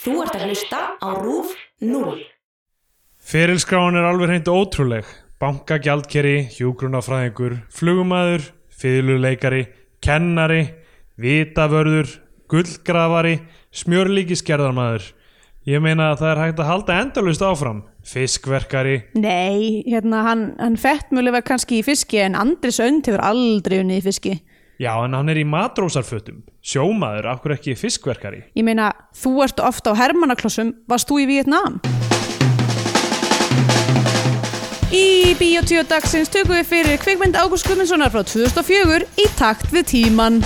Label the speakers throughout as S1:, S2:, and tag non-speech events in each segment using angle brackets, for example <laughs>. S1: Þú ert að hlusta á RÚF 0.
S2: Ferilskráin er alveg hreint ótrúleg. Bankagjaldkeri, hjúgrunafræðingur, flugumæður, fyrirluleikari, kennari, vitavörður, gullgrafari, smjörlíkiskerðarmæður. Ég meina að það er hægt að halda endalust áfram. Fiskverkari,
S3: Nei, hérna hann, hann fettmjölu var kannski í fiski en Andris Önd hefur aldrei unnið í fiski.
S2: já en hann er í matrósarfötum. Sjómaður, af hverju ekki fiskverkari?
S3: Ég meina, þú ert ofta á hermannaklossum, varst þú í Vietnam? Í Bíotvíu dagsins tökum við fyrir kvikmynd Ágúst Guðmundssonar frá 2004 í takt við tíman.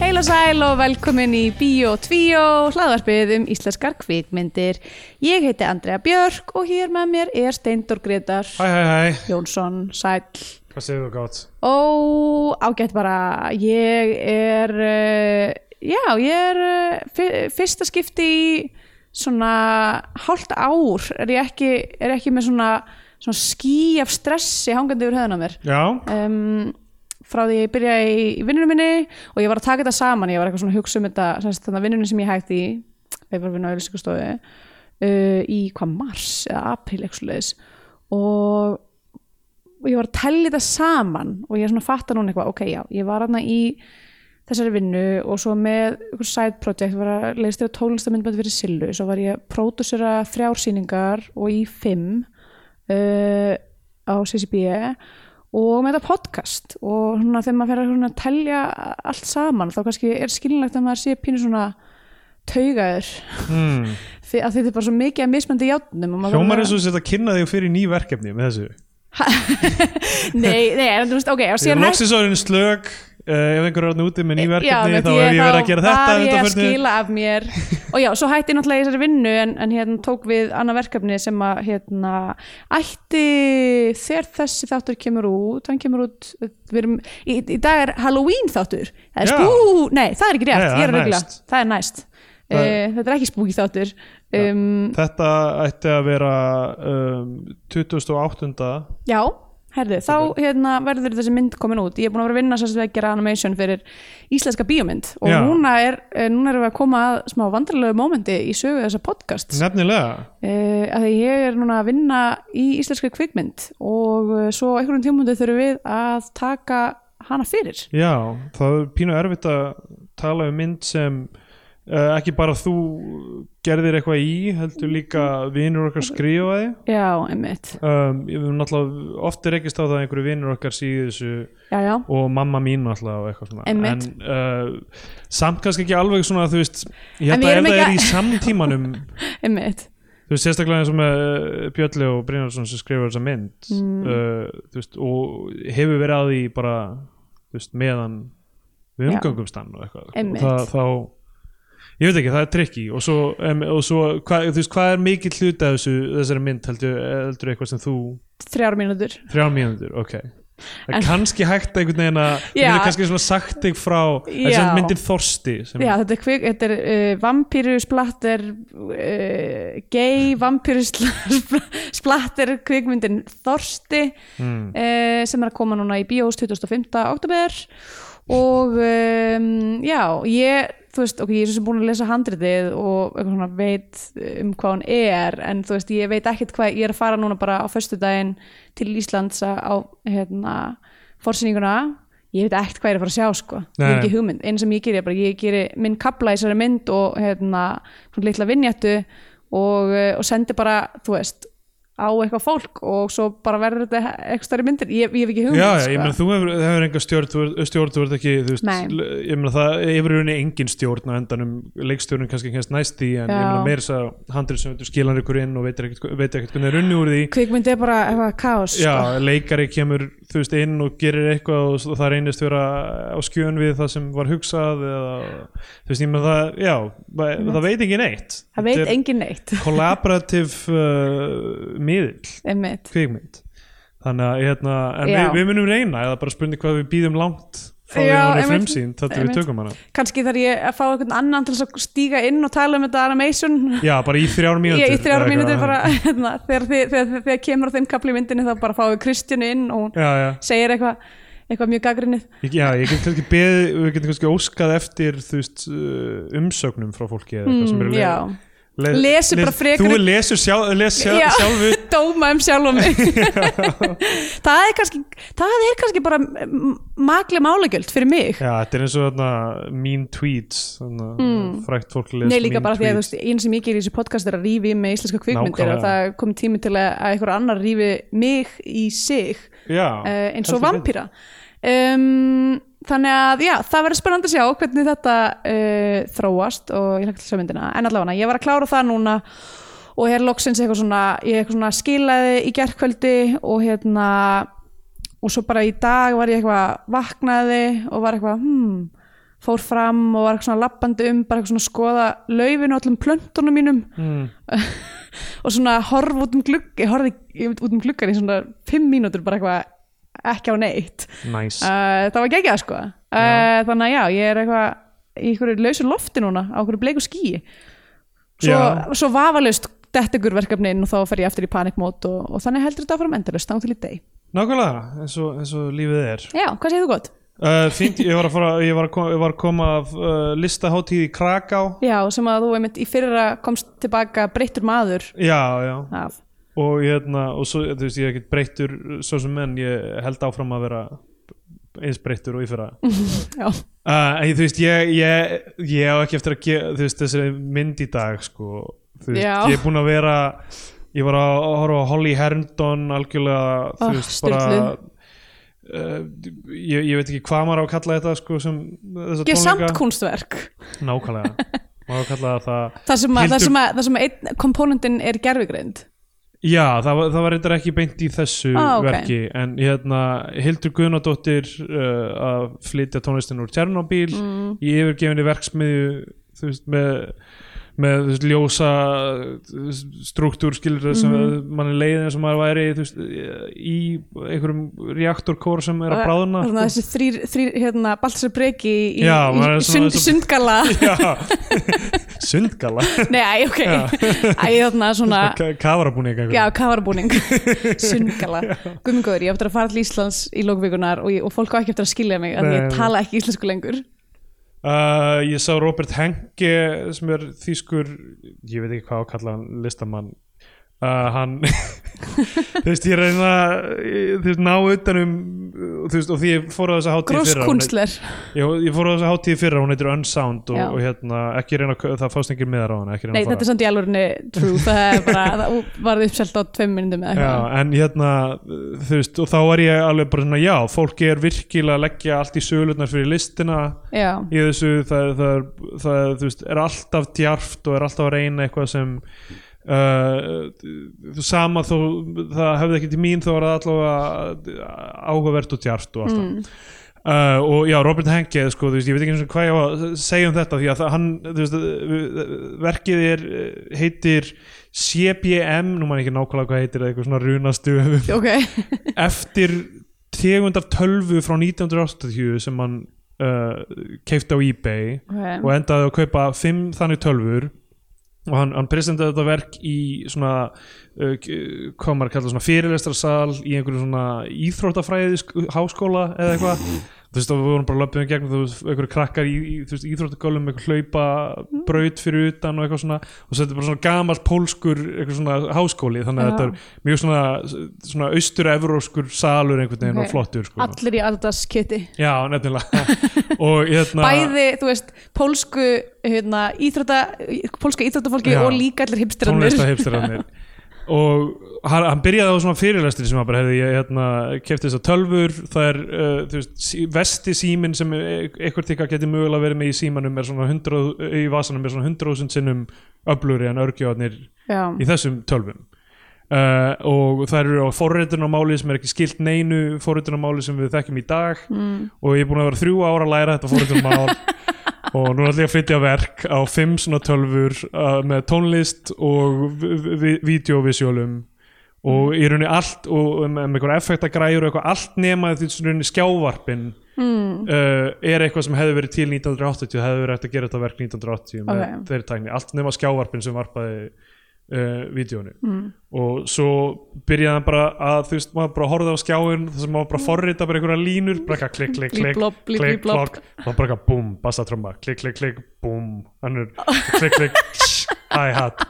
S3: Heil og sæl og velkomin í Bíó 2, hlaðvarpið um íslenskar kvikmyndir. Ég heiti Andrea Björk og hér með mér er Steindor Gretar
S2: Hæ, hæ, hæ,
S3: Jónsson Sæll.
S2: hvað segir þú gátt?
S3: Ó, ágætt bara, ég er, uh, já, ég er uh, fyr- fyrsta skipti í svona hálft ár er ég ekki, er ekki með svona, svona skí af stressi hangandi yfir höfðan á mér
S2: Já,
S3: um, frá því ég byrjaði í, í vinnunum minni og ég var að taka þetta saman, ég var eitthvað svona að hugsa um þetta, semst, þannig að vinnunum sem ég hætti í við varum vinna á auðlýsingastofu uh, í hvað mars eða april eitthvað svoleiðis. og og ég var að tella þetta saman og ég er svona að fatta núna eitthvað, ok, já, ég var aðna í þessari vinnu og svo með einhver side project, var að leist þér að tónlistamindbænd fyrir Sillu, svo var ég að pródusera þrjár sýningar og í fimm uh, á CCB E og með þetta podcast og svona þegar maður fer að svona telja allt saman, þá kannski er skiljanlegt að maður sé pínu svona taugaður
S2: hmm.
S3: því að þetta er bara svo mikið að mismöndi játnum og maður verður
S2: Hjómar
S3: að-
S2: eins og þetta kynna þig fyrir ný verkefni með þessu.
S3: Nei, nei, en þú veist, ok, og
S2: Ég er
S3: síðan
S2: loksins orðin slög uh, ef einhver er orðin úti með ný verkefni
S3: Já,
S2: þá
S3: því
S2: hef ég verið að gera þetta hérna
S3: var ég að
S2: undanfarnið.
S3: skila af mér og já, svo hætti ég náttúrulega í þessari vinnu en, en hérna tók við annað verkefni sem að hérna, ætti þegar þessi þáttur kemur út hann kemur út við erum, í, í dag er Halloween þáttur það er
S2: Já.
S3: spú, nei, það er ekki rétt,
S2: Nei, það
S3: ég er
S2: er
S3: að regla
S2: næst.
S3: það er næst,
S2: Það
S3: uh,
S2: er-
S3: þetta er ekki spúki þáttur um,
S2: Þetta ætti að vera um, 2008.
S3: Já, herðu, þá hérna, verður þessi mynd komin út. Ég er búin að vera að vinna sérst við að gera animation fyrir íslenska bíómynd og
S2: Já.
S3: núna, er, eh, núna erum við að koma að smá vandrarlegu mómenti í sögu þessa podcast uh,
S2: Nefnilega.
S3: að því ég er núna að vinna í íslenska kvikmynd og uh, svo á einhverjum tímundi þurfum við að taka hana fyrir.
S2: Já, það er pínu erfitt að tala um mynd sem uh, ekki bara þú gerðir eitthvað í, heldur líka vinur okkar skrifaði.
S3: Já, einmitt.
S2: Um, ég hef náttúrulega ofti rekist á það að einhverju vinur okkar síðu þessu
S3: Já, já.
S2: og mamma mín náttúrulega og eitthvað svona
S3: Einmitt.
S2: en uh, samt kannski ekki alveg svona þú veist, ég held
S3: En við
S2: að ef
S3: erum
S2: það
S3: ekki
S2: er
S3: að-
S2: í
S3: <laughs>
S2: samtímanum
S3: Einmitt.
S2: þú veist, sérstaklega eins og með uh, Bjölli og Brynjarsson sem skrifar þessa mynd
S3: Mm.
S2: uh, þú veist, og hefur verið að því bara, þú veist, meðan við
S3: Já.
S2: umgöngumst hann og eitthvað sko.
S3: Einmitt.
S2: það, þá, ég veit ekki, það er trikki og svo, em, og svo hva, þú veist, hvað er mikill hluti af þessu, þessari mynd heldur, heldur eitthvað sem þú,
S3: Þrjár mínútur.
S2: þrjá mínútur, ok það
S3: En-
S2: er kannski hægt einhvern veginn að þú
S3: Já.
S2: getur kannski svona sagt þig frá
S3: Já.
S2: þessi myndin Þorsti sem,
S3: Já, þetta er, kvik, þetta er uh, vampíru splatter uh, gay vampíru sl- splatter kvikmyndin Þorsti
S2: Mm.
S3: uh, sem er að koma núna í bíós 25. oktober og um, já, ég þú veist, ok, ég er svo sem búin að lesa handritið og eitthvað svona veit um hvað hann er en þú veist, ég veit ekkert hvað ég er að fara núna bara á föstudaginn til Íslands að- á hérna forsýninguna, ég veit ekkert hvað ég er að fara að sjá sko, ég
S2: Nei.
S3: hef ekki hugmynd einu sem ég gerir, bara ég gerir minn kapla í þessari mynd og hérna, svona litla vinnjættu og, eh, og sendi bara, þú veist á eitthvað fólk og svo bara verður þetta eitthvað stærri myndir, ég, ég hef ekki hugmynd
S2: Já, já,
S3: sko.
S2: ég meina þú hefur, hefur enga stjórn, þú ert- stjórn, þú ert ekki, þú veist,
S3: Nei.
S2: l- ég meina það hefur rauninni engin stjórn á endanum, leikstjórn kannski kennst næst í, en ég meina
S3: Já.
S2: meira þess að handrið sem þú skilar ykkur inn og veitir ekkert, veit ekkert hvernig er unni úr því,
S3: kvikmynd er bara eitthvað kaos
S2: já,
S3: sko.
S2: leikari kemur, þú veist, inn og gerir eitthvað og s- það reynist vera á skjön við það sem var hugsað eða, þú veist, ég meina það, já, það, það veit ekki neitt.
S3: það veit
S2: Þetta er
S3: engin neitt <laughs>
S2: Kollaborativ uh, miðill
S3: einmitt
S2: kvikmynd þannig að hérna, en við,
S3: Já.
S2: við munum reyna eða bara spurning hvað við býðum langt þá er
S3: Já,
S2: hún er
S3: einmitt.
S2: frumsýnd þetta við
S3: Einmitt.
S2: tökum hana
S3: kannski þarf ég að fá einhvern annan til þess að stíga inn og tala um þetta animation
S2: já, bara í þrjár
S3: Ég,
S2: mínútur
S3: í þrjára
S2: eða eitthvað.
S3: mínútur bara <laughs> hérna, þegar, þegar, þegar, þegar kemur á þeim kapli í myndinni þá bara fáum við Kristjánu inn og hún
S2: já, já,
S3: segir eitthvað eitthvað mjög gaggrinnið
S2: Ég- já, ég get kannski beðið, við getum kannski óskað eftir þú veist, uh, umsögnum frá fólki eða eitthvað sem eru
S3: Mm, já,
S2: le
S3: Lesum bara frekar-
S2: þú lesur sjálf, les sjálf,
S3: Já.
S2: sjálfu
S3: dóma um sjálf og mig það er kannski það er kannski bara makli málagjöld fyrir mig
S2: já, þetta er eins og þarna mean tweets þarna, frækt fólk les
S3: Mm. Nei, líka
S2: mean
S3: bara því að þú
S2: tweets.
S3: veist, einu sem ég gerir í þessu podcast er að rífi með íslenska kvikmyndir
S2: Nákvæmlega.
S3: og það kom tími til að, að einhver annar rífi mig í sig
S2: já,
S3: uh, eins
S2: heldur
S3: og
S2: betur.
S3: vampýra um, þannig að já, það verður spennandi að sjá hvernig þetta uh, þróast og ég hlaka til sömyndina en allavega, ég var að klára það núna og hér loksins eitthvað svona ég eitthvað svona skilaði í gerkvöldi og hérna og svo bara í dag var ég eitthvað vaknaði og var eitthvað hmm, fór fram og var eitthvað svona lappandi um bara eitthvað svona að skoða laufinu og öllum plöntunum mínum
S2: Mm.
S3: og svona horf út um glugg ég horfði ég- út um gluggan í svona fimm mínútur bara eitthvað ekki á neitt
S2: Nice.
S3: uh, það var geggjað sko uh, þannig að já, ég er eitthvað í einhverju lausu lofti núna á einhverju bleiku skýi
S2: Já.
S3: svo, svo vafalaust þetta ykkur verkefni inn og þá fer ég aftur í panikmót og, og þannig heldur þetta áfram endalaust þá til í deg
S2: Nákvæmlega, eins og, eins og lífið er
S3: já, hvað segir þú gott?
S2: uh, Fínt, ég var að, fara, ég var að, koma, ég var að koma af uh, listaháttíð í Kraká
S3: já, sem að þú einmitt í fyrra komst tilbaka breyttur maður
S2: Já, já
S3: af
S2: og, hérna, og svo, þú veist, ég er ekkert breyttur svo sem menn, ég held áfram að vera eins breyttur og í fyrra
S3: já,
S2: Uh, en þú veist, ég, ég, ég á ekki eftir að gera, þú veist, þessi mynd í dag, sko, þú veist,
S3: Já.
S2: ég er búin að vera, ég var að horfa á Holly Herndon algjörlega, þú
S3: Ah,
S2: veist, bara,
S3: sturluð.
S2: uh, ég, ég veit ekki hvað maður á að kalla þetta, sko, sem þessa
S3: ég samt
S2: tónleika.
S3: kunstverk
S2: Nákvæmlega, maður á að kalla það það.
S3: það sem að,
S2: Hildur-
S3: það sem að, það sem að einn komponentin er gerfigreind
S2: Já, það var, það var reyndar ekki beint í þessu
S3: Ah, ok.
S2: verki, en hérna, Hildur Guðnadóttir uh, að flytja tónlistin úr Tjernobyl
S3: Mm.
S2: í yfirgefinni verksmiðju þú veist, með, með þú veist, ljósa struktúr skilur það sem
S3: Mhm.
S2: mann er leiðin sem maður væri þú veist, í einhverjum reaktorkór sem er að bráðuna
S3: Þarna þessi þrýr, þrýr hérna, Baltasar Breki í,
S2: sko. Já,
S3: í,
S2: maður er
S3: í
S2: svona-
S3: sund,
S2: svona-
S3: sundgala
S2: <laughs> <laughs> Já,
S3: <laughs>
S2: sundgala
S3: Nei, æ, ok
S2: Já.
S3: Æ, þarna svona
S2: kafarabúning
S3: Ah. Já, <laughs> kafarabúning, sundgala Guðmengóður, ég á eftir að fara til Íslands í lókvíkunar og, ég- og fólk á ekki eftir að skilja mig að
S2: Nei,
S3: ég
S2: nei.
S3: tala ekki íslensku lengur
S2: Uh, ég sá Robert Henke sem er þýskur ég veit ekki hvað að kalla hann listamann uh, hann <laughs> þú veist ég reyna þú veist ná utan um þú veist og því ég fór á þessa hátíð í fyrra hún heit-
S3: Gróskunstler
S2: ég, ég fór á þessa hátíð í fyrra, hún heitir Unsound og,
S3: Já.
S2: og hérna ekki reyna að kau- það fást engin miðar á hana ekki reyna
S3: Nei,
S2: að fara
S3: þetta er samt í alvörinni true Það er bara, <laughs> það varði uppselt á tveim minnum eða
S2: Já,
S3: eitthvað
S2: en hérna, þú veist, og þá er ég alveg bara svona, já, fólki er virkilega að leggja allt í sögulutnar fyrir listina
S3: Já,
S2: í þessu það, það, er, það er, þú veist, er alltaf djarft og er alltaf að reyna eitthvað sem uh, sama þó það hefði ekki til mín þá var það allavega áhugavert og djarft og alltaf Uh, og já, Robert Henke sko, þú veist, ég veit ekki eins og hvað ég á að segja um þetta því að það- hann, þú veist, uh, verkið er, uh, heitir CBM, nú maður ekki nákvæmlega hvað heitir eða eitthvað svona um runastu
S3: ok
S2: eftir tegund af tölvu frá 1980 sem hann uh, keipti á eBay
S3: Ok.
S2: og endaði að kaupa fimm þannig tölvur og hann, hann presentaði þetta verk í svona uh, k- hvað maður kallar svona fyrirlestrarsal í einhverju svona íþróttafræði sk- háskóla eða eitthvað þú veist og við vorum bara löpum í gegnum þú veist einhverju krakkar í, í þú veist íþróttagölum einhver hlaupa braut fyrir utan og eitthvað svona og svo þetta er bara svona gamalt pólskur einhver svona háskóli þannig að
S3: Já.
S2: þetta er mjög svona svona austur-evróskur salur einhvern veginn
S3: Ok.
S2: og flottur sko
S3: Allir í Adidas kiti
S2: já nefnilega <laughs> og hérna
S3: bæði, þú veist, pólsku hérna, íþrótta, pólska íþróttafólki
S2: Já.
S3: og líka allir hipsterarnir
S2: tónlista hipsterarnir og hann, hann byrjaði á svona fyrirlestri sem hann bara hefði ég hérna, kefti þessar tölfur það er uh, þú veist, sí, vesti símin sem eitthvað tíka geti mögulega verið með í símanum er svona 100, í vasanum er svona 100.000 sinnum öfluri en örgjóðanir
S3: Já,
S2: í þessum tölvum uh, og það eru á forritunarmáli sem er ekki skilt neinu forritunarmáli sem við þekkjum í dag mm. og ég er búin að vera þrjú ára að læra þetta forritunarmál og nú ætlum ég að flytja verk á fimm svona tölvur uh, með tónlist og videovisjólum
S3: Mm.
S2: og í rauninni allt og um, um einhver effektagræjur og eitthvað allt nema því svona í rauninni skjávarpin
S3: mm,
S2: uh, er eitthvað sem hefði verið til 1980 hefði verið hægt að gera þetta verk 1980 með
S3: Ok.
S2: þeirri tækni, allt nema skjávarpin sem varpaði uh, vídjónu mm. og svo byrjaði hann bara að þú veist, maður bara horfði á skjáin þess að maður
S3: Mm.
S2: bara forrita bara einhverja línur bara eitthvað klikk, klikk, klikk,
S3: Blíblobb, blíblobb,
S2: klikk,
S3: blíblobb.
S2: klokk og bara eitthvað búm, bassatrömba, klikk, klikk, klikk búm, annur, klikk, klikk tss, hi-hat,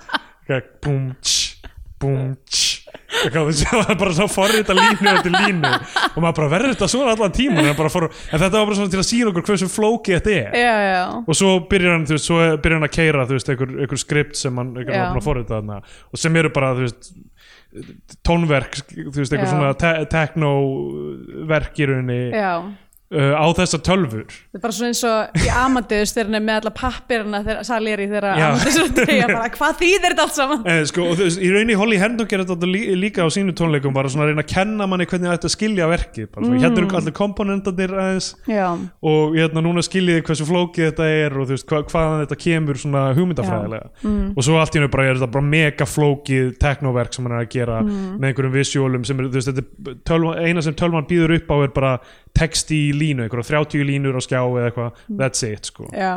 S2: eitthvað, búm tss, búm, tss eitthvað, þú veist, það var bara svo forrita línu eftir línu og maður bara verður þetta svona allan tíma en, bara fór, en þetta var bara svona til að sína okkur hversu flóki þetta er
S3: já, já,
S2: og svo byrjar hann, þú veist, svo byrjar hann að keira þú veist, einhver, einhver skript sem hann einhver
S3: Já.
S2: hann að forrita þarna og sem eru bara, þú veist tónverk, þú veist, einhver
S3: Já.
S2: svona te teknoverk í rauninni
S3: já
S2: uh, á þessar tölfur
S3: það er bara svona eins og í Amadeus þegar hann er með alla pappirina þegar Sally er í þeirra
S2: Já.
S3: Amadeus er að
S2: <laughs>
S3: deyja bara hvað þýðir þetta allt saman
S2: Eh, sko, og þú veist, í rauninni Holly Hendon gerir þetta lí, líka á sínu tónleikum bara svona að reyna að kenna manni hvernig þetta skilja verkið bara, mm. hérna eru allir komponentarnir aðeins
S3: já,
S2: og hérna núna skiljiði hversu flókið þetta er og þú veist hva, hvaðan þetta kemur svona hugmyndafræðilega og svo allt í hennu bara er þetta bara mega flókið teknoverk sem hann er að gera með einhverjum visjólum sem er, þú veist, þetta er tölvan, eina sem tölvan býður upp á er bara text í línu, einhverja 30 línur á skjá eða eitthvað, that's it sko
S3: já,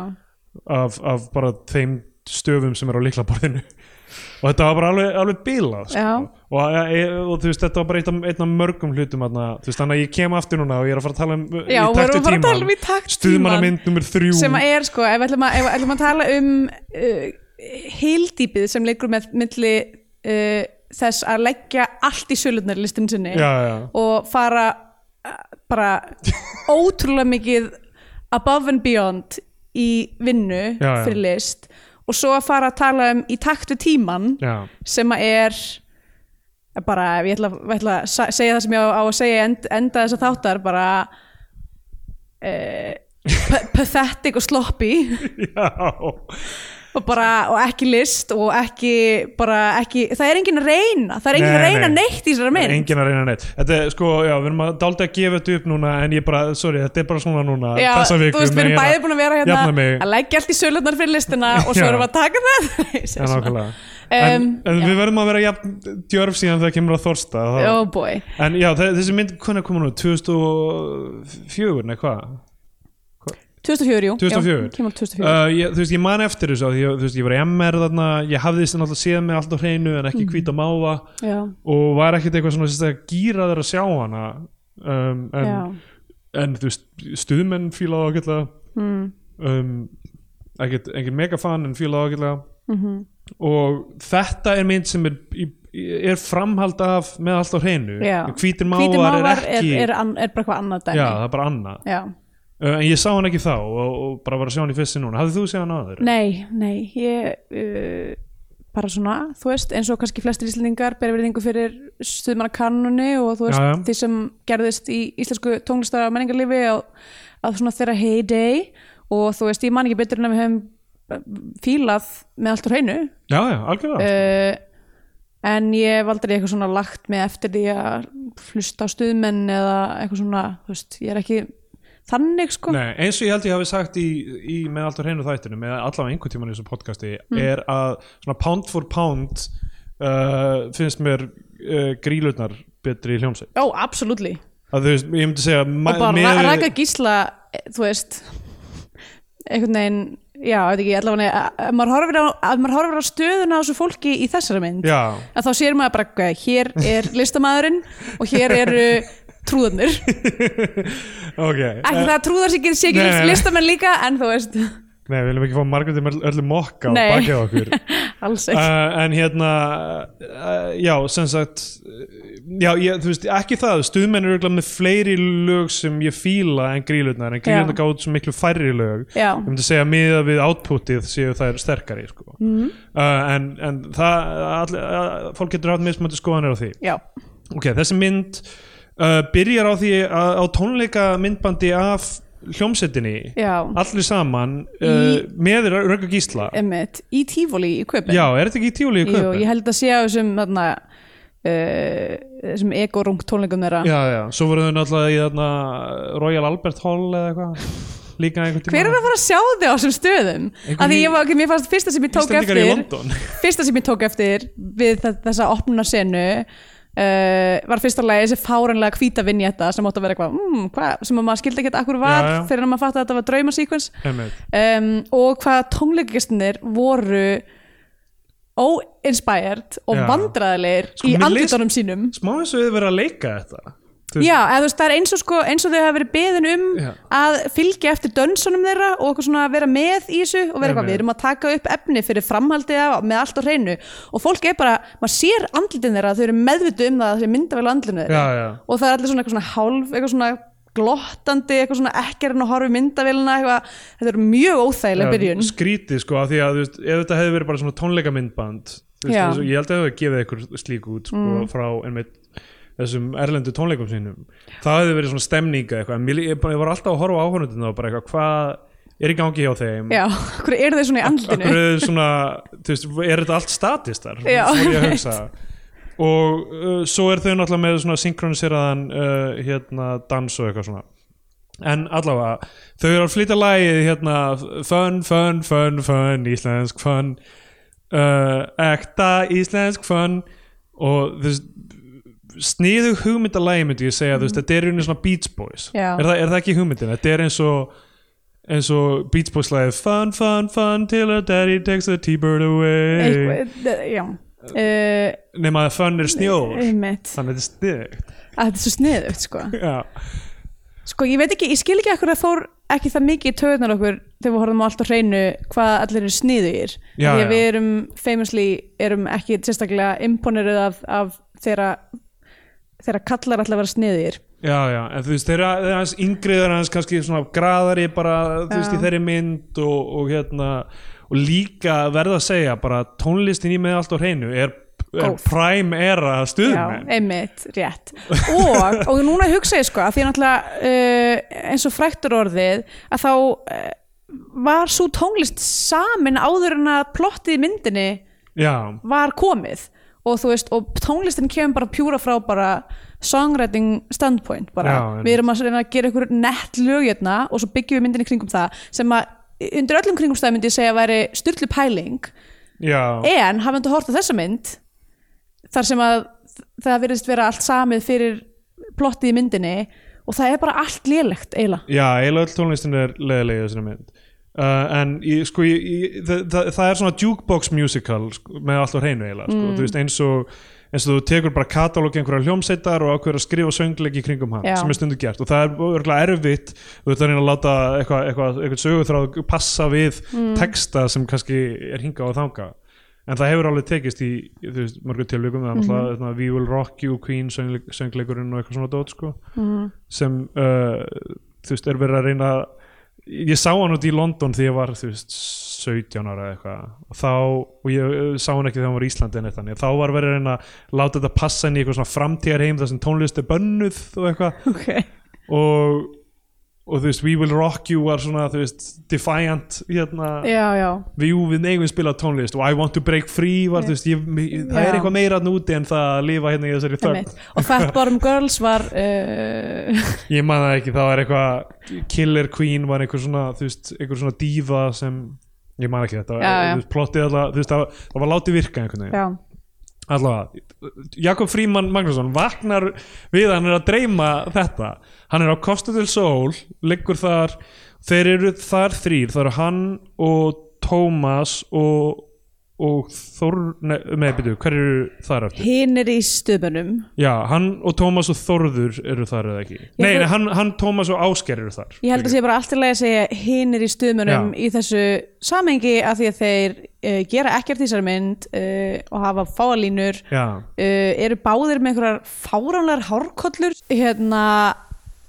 S2: af, af bara þeim stöfum sem er á líklaborðinu og þetta var bara alveg, alveg bilað sko.
S3: Já.
S2: og, e, og þú veist, þetta var bara einn af- einn af mörgum hlutum þarna, þú veist, þannig að ég kem aftur núna og ég er að fara að tala um uh, í
S3: já við
S2: takt
S3: erum
S2: við
S3: bara að tala um
S2: tímann
S3: í takt
S2: stuðmannamind nummer þrjú
S3: sem að er sko, ef ætlum að, ef ætlum að tala um uh, heildýpið sem leikur með milli uh, þess að leggja allt í sölunar listin sinni
S2: já, já,
S3: og fara uh, bara
S2: <laughs>
S3: ótrúlega mikið above and beyond í vinnu
S2: Já, já.
S3: fyrir list og svo að fara að tala um í takt við tímann
S2: <laughs> já,
S3: sem að er eh, bara, ef ég ætla, ég ætla að sa- segja það sem ég á, á að segja í end, enda þess að þáttar bara uh, pathetic og sloppy
S2: já
S3: og bara, og ekki list og ekki, bara ekki það er engin að reyna, það er engin að
S2: Nei,
S3: reyna
S2: nei.
S3: neitt í þessari mynd
S2: engin að reyna neitt þetta er sko, já, við erum að dálta að gefa þetta upp núna en ég bara, sorry, þetta er bara svona núna
S3: Já,
S2: þessa viku,
S3: þú veist,
S2: en
S3: við erum
S2: ég
S3: bæði
S2: að
S3: búin að vera
S2: jafna
S3: hérna
S2: mig.
S3: að leggja allt í sölunar fyrir listina og svo
S2: Já.
S3: erum við að
S2: <laughs>
S3: taka það Ég segi
S2: Já,
S3: svona.
S2: nákvæmlega. en,
S3: Um,
S2: en við verðum að vera jafn djörf síðan þegar kemur að þorsta það,
S3: oh boy,
S2: En já, þe- þessi mynd, hvernig kom hún út? 2004, nei hvað?
S3: 2004 jú
S2: 2004?
S3: Já, kemur 2004
S2: Uh, ég, þú veist, ég man eftir þessu af því, ég, þú veist, ég var í MR þarna, ég hafði þess að séð mig allt á hreinu en
S3: Mm.
S2: ekki hvít á máva
S3: já,
S2: og var ekkert eitthvað svona sérstaklega gíraður að sjá hana um, en,
S3: já,
S2: en þú veist, stuðmenn fílaði ágætlega mm. um, ekkert, engin megafan en fílaði ágætlega
S3: Mhm.
S2: -hmm. og þetta er mynd sem er, í- í- er framhald af með allt á hreinu
S3: Já.
S2: hvítir mávar,
S3: hvítir mávar
S2: er
S3: er,
S2: ekki
S3: er, an- er bara eitthvað annað dæmi
S2: já, það er bara annað
S3: Já.
S2: Uh, en ég sá hann ekki þá og, og bara var að sjá hann í fyrstu núna hafði þú séð hann áður?
S3: Nei, nei, ég uh, bara svona, þú veist, eins og kannski flestir íslendingar bera verðingu fyrir stuðmanna kannunni og þú veist,
S2: Já, já.
S3: því sem gerðist í íslensku tónlistar og menningarlifi á, að svona þeirra heyday og þú veist, ég man ekki betur en að við höfum uh, fílað með allt á hreinu
S2: já, já, algjörlega
S3: uh, en ég hef aldrei eitthvað svona lagt mig eftir því að hlusta á stuðmenn eða eitthvað svona, þú veist, ég er ekki þannig sko
S2: Nei, eins og ég held ég hafi sagt í, í með allt á hreinu þættinu, með allavega einhvern tímann í þessu podcasti,
S3: Mm.
S2: er að svona pound for pound uh, finnst mér uh, grílutnar betri í hljómsveit
S3: Ó, absolutely
S2: að þú veist, ég myndi segja
S3: og bara ra raka gísla eh, þú veist einhvern veginn, já, veit ekki allavega, eh, ef maður horfir á, ef maður horfir á stöðuna á þessu fólki í þessari mynd
S2: já,
S3: að þá sér maður bara, hvað, hér er listamaðurinn og hér eru trúðarnir, ekki
S2: ok Eh,
S3: það að trúðar sé ekki, sé ekki
S2: Nei, nei, nei.
S3: listamenn líka, en þú veist
S2: Nei, við viljum ekki fá margundum öllu mokka á
S3: Nei.
S2: bakið á okkur
S3: alls ekki,
S2: uh, en hérna uh, já, sem sagt uh, já, ég, þú veist, ekki það stuðmenn eru örugglega með fleiri lög sem ég fíla en grílutnar, en grílutnar
S3: Já.
S2: gáðu svo miklu færri lög
S3: Já.
S2: ég myndi segja miða við outputið séu þær sterkari sko. mm.
S3: Mhm.
S2: uh, en, en það all, uh, fólk getur hatt mismöndi skoðanir á því
S3: já,
S2: ok, þessi mynd uh, byrjar á því að, á tónleika myndbandi af hljómsettinni
S3: já
S2: allir saman uh,
S3: Í-
S2: með Rögga Gísla
S3: emmitt, í tífóli í kaupin
S2: já, er þetta ekki í tíulíu
S3: Jú, ég held að sé á þessum þarna, uh, þessum egorung tónleikum þeirra
S2: já, já, svo voru þau náttúrulega í þarna eh, Royal Albert Hall eða eitthvað líka einhvern tíma
S3: Hver er að fara að sjá þig á þessum stöðum?
S2: Einhver
S3: Af því
S2: í-
S3: ég var ekki, mér fannst fyrsta sem ég tók
S2: Íslendingar í
S3: eftir
S2: London
S3: Fyrsta sem ég tók eftir við þe- þessa opnuna senu uh, var fyrsta lagi þessi fáranlega hvíta vinjetta sem átti að vera eitthvað mm, hva? sem að maður skildi ekkert akkur var
S2: Já, já.
S3: fyrir að maður fatta að þetta var draumasíkvens
S2: <laughs> einmitt.
S3: um, og hvað tónleikastinir voru óinspired og
S2: Já.
S3: vandræðilegir
S2: Sko,
S3: í
S2: mér leist-
S3: andlutunum sínum
S2: smá eins og þið verið að leika þetta Þú veist,
S3: Já, eða þú veist, það er eins og, sko, eins og þau hafa verið beðin um
S2: Já.
S3: að fylgja eftir dönsunum þeirra og okkur svona að vera með í þessu og vera
S2: Nei,
S3: eitthvað,
S2: nei.
S3: við erum að taka upp efni fyrir framhaldið af, með allt á hreinu og fólk er bara, maður sér andlitin þeirra þau eru meðvitu um það að þau mynda vel andlinu þeirra
S2: já, já.
S3: og það er allir svona eitthvað svona hálf, eitthvað svona glottandi, eitthvað svona ekkert en að horfa í myndavélina, eitthvað, þetta er mjög óþægileg byrjun.
S2: skrítið sko af því að þú veist, ef þetta hefði verið bara svona tónleikamindband þú veist,
S3: Já. Mm.
S2: eins og ég held að það hefði gefið ykkur slík út sko, frá einmitt þessum erlendu tónleikum sínum það hefði verið svona stemninga eitthvað en mér- ég, bara- ég var alltaf að horfa á áhörnundin og bara eitthvað hvað er í gangi hjá þeim
S3: Já, okkur eru þau svona í andlinu
S2: Akkur er, svona, þú veist, er þetta allt statistar
S3: Já,
S2: fór ég að
S3: einmitt.
S2: hugsa og uh, svo er þau náttúrulega með svona synkroniseraðan uh, hérna, dans og eitthvað svona en allavega, þau eru að flytja lagið hérna, fun, fun, fun, fun íslensk fun uh, ekta íslensk fun og þú veist sniðu hugmyndalagi myndi ég segja þú veist, þetta er einu svona Beach Boys
S3: Mhm. Já.
S2: er, það, er það ekki hugmyndin, þetta er eins og eins og Beach Boys lagið Fun, fun, fun till her daddy takes the t-bird away
S3: Eitthvað, eh, já uh,
S2: nema að fun er snjór
S3: einmitt,
S2: þannig að þetta er stygt
S3: að þetta er svo sniðugt sko.
S2: já,
S3: sko, ég veit ekki, ég skil ekki akkur að fór ekki það mikið í töðunar okkur þegar við horfum á allt á hreinu hvað allir eru sniðugir
S2: Já,
S3: því að
S2: já.
S3: við erum famously erum ekki sérstaklega imponerið af, af þeirra þeirra kallar allir að vera sniðugir
S2: já, já, en þú veist þeir eru aðeins yngriður aðeins kannski svona graðari bara, þú veist,
S3: Já.
S2: í þeirri mynd og, og hérna, og líka verða að segja bara tónlistin í með allt á hreinu er, er
S3: Góð.
S2: prime era
S3: Já,
S2: stuðmenn
S3: einmitt, rétt og, og núna hugsa ég sko að því að náttúrulega uh, eins og fræktur orðið að þá uh, var svo tónlist samin áður en að plottið í myndinni
S2: já,
S3: var komið og þú veist, og tónlistin kemur bara pjúra frá bara songwriting standpoint bara,
S2: Já, einmitt.
S3: við erum að, reyna að gera ykkur nett lög hérna og svo byggjum við myndinni kringum það sem að undir öllum kringumstæðum myndi ég segja að væri styrlu pæling
S2: já
S3: en hafum þetta hort á þessa mynd þar sem að það virðist vera allt samið fyrir plottið í myndinni og það er bara allt lélegt
S2: <laughs>
S3: eiginlega
S2: Já, eiginlega öll tónlistin er leðilega í þessari mynd uh, en ég, sko ég, ég, það, það, það er svona jukebox musical sko, með allt á hreinu eiginlega sko. Þú veist, eins, og, eins og þú tekur bara katalógi einhverja hljómsveitar og ákveður að skrifa söngleiki kringum hann
S3: Já.
S2: sem er stundu gert og það er örgulega erfitt þú veist að reyna að láta eitthvað eitthva, eitthva sögutráð passa við texta sem kannski er hingað og þangað en það hefur alveg tekist í í, þú veist, mörgum tilvikum, það er náttúrulega mm We Will Rock You, Queen, söngleik, söngleikurinn og eitthvað svona dót sko sem uh, þú veist, er verið að reyna ég sá hann út í London því ég var þú veist, 17 ára eða eitthvað og þá, og ég uh, sá hann ekki þegar hann var í Íslandi en eitt þannig, þá var verið að reyna að láta þetta passa inn í eitthvað svona framtíðarheim þar sem tónlist er bönnuð og eitthvað
S3: okay.
S2: og, og þú veist, We Will Rock You var svona, þú veist, defiant hérna,
S3: já, já,
S2: við, jú, við eigum spila tónlist og I Want to Break Free var, þú veist, ég, ég, það
S3: Já.
S2: er eitthvað meira hann úti en það að lifa hérna í þessari þögn
S3: einmitt og Fat Bottom Girls var
S2: <laughs>
S3: uh,
S2: Ég man það ekki, það var eitthvað Killer Queen var einhver svona þú veist, einhver svona dífa sem ég man ekki þetta,
S3: Já, já.
S2: þú veist, plottið alltaf þú veist, það, var- það var látið virka einhvern veginn
S3: já,
S2: allavega, Jakob Fríman Magnússon vaknar við að hann er að dreyma þetta, hann er á Costa del Sol liggur þar þeir eru þar þrýr, það eru hann og Tómas og, og Þór nei, nei, byrju, hver eru þar eftir?
S3: hinn er í stöðbunum
S2: Já, hann og Tómas og Þórður eru þar eða ekki Nei,
S3: held-
S2: nei hann, hann, Tómas og Ásker eru þar
S3: ég held að sé bara allt í lagi að segja hinn er í stöðbunum í þessu samengi af því að þeir uh, gera ekkert í þessari mynd uh, og hafa fáalínur
S2: Já,
S3: uh, eru báðir með einhverjar fáránlegar hárkollur hérna,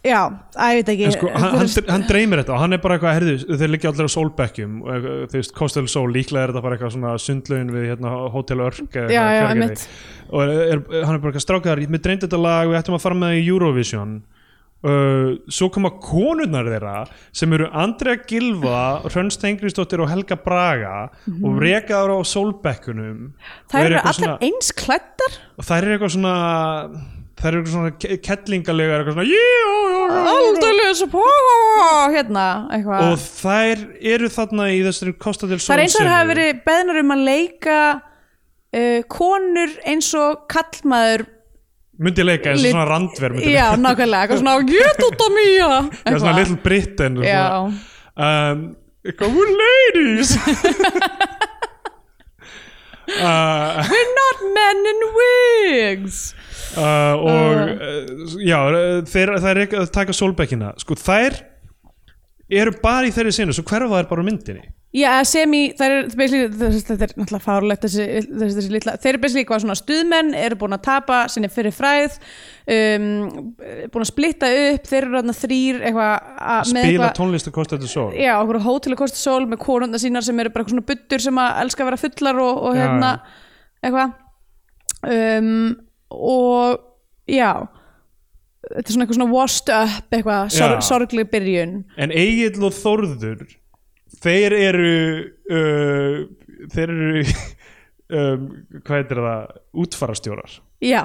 S3: já, að ég veit ekki
S2: en sko, hann, hann, hann dreymir þetta og hann er bara eitthvað, herðu, þeir liggja allir á sólbekkjum og eitthvað, þú veist, Kostel Sól, líklega er þetta bara eitthvað svona sundlaun við hérna Hotel Örk eða eitthvað,
S3: Já, já,
S2: Hveragerði.
S3: einmitt.
S2: og er, er, hann er bara eitthvað strákaðar, mér dreyndi þetta lag við ættum að fara með það í Eurovision Uh, svo koma konurnar þeirra sem eru Andrea Gilva Hrönn Stengrisdóttir og Helga Braga og rekaður á sólbekkunum og
S3: það eru
S2: eitthvað
S3: allar
S2: svona-
S3: eins klættar
S2: og þær eru eitthvað svona þær eru eitthvað svona ke- kettlingalega eitthvað svona "Jú, jú, jú, jú."
S3: aldrei svo pó hérna,
S2: og
S3: eitthvað
S2: þær eru þarna í þessari Costa del Sol
S3: það er eins og það
S2: seríu.
S3: hafa verið eh, beðnar um að leika uh, konur eins og kallmaður
S2: myndi leika eins og
S3: Lit-
S2: svona randver myndi
S3: já, nákvæmlega, eitthvað svona get
S2: <laughs>
S3: út á mýja
S2: leika, svona little Britain og
S3: já,
S2: svona, um, eitthvað, we're
S3: <laughs>
S2: ladies <laughs> uh,
S3: we're not men in wigs
S2: uh,
S3: Ah.
S2: og uh, já, uh, þeir, þær er að taka sólbekkina sko þær eru bara í þeirri sinu, svo hverfa þær bara úr myndinni
S3: Já, eða semi, það er, basically, það- þetta er náttúrulega fárlegt þessi, þessi, þessi litla, þeir eru basically hvað svona stuðmenn, eru búin að tapa sinni fyrir fræð, um, búin að splitta upp, þeir eru þarna þrýr eitthvað, að- með
S2: spila
S3: eitthvað
S2: tónlist og kosta þetta sól
S3: Já, okkur hótel og kosti sól með konundar sínar sem eru bara eitthvað svona buttur sem að elska að vera fullar og, og
S2: Já,
S3: hérna, eitthvað um, og já þetta er svona eitthvað svona washed up eitthvað,
S2: Já.
S3: sorg, sorgleg byrjun
S2: en Egil og Þórður þeir eru uh, þeir eru <laughs> um, hvað heitir það útfarastjórar
S3: Já,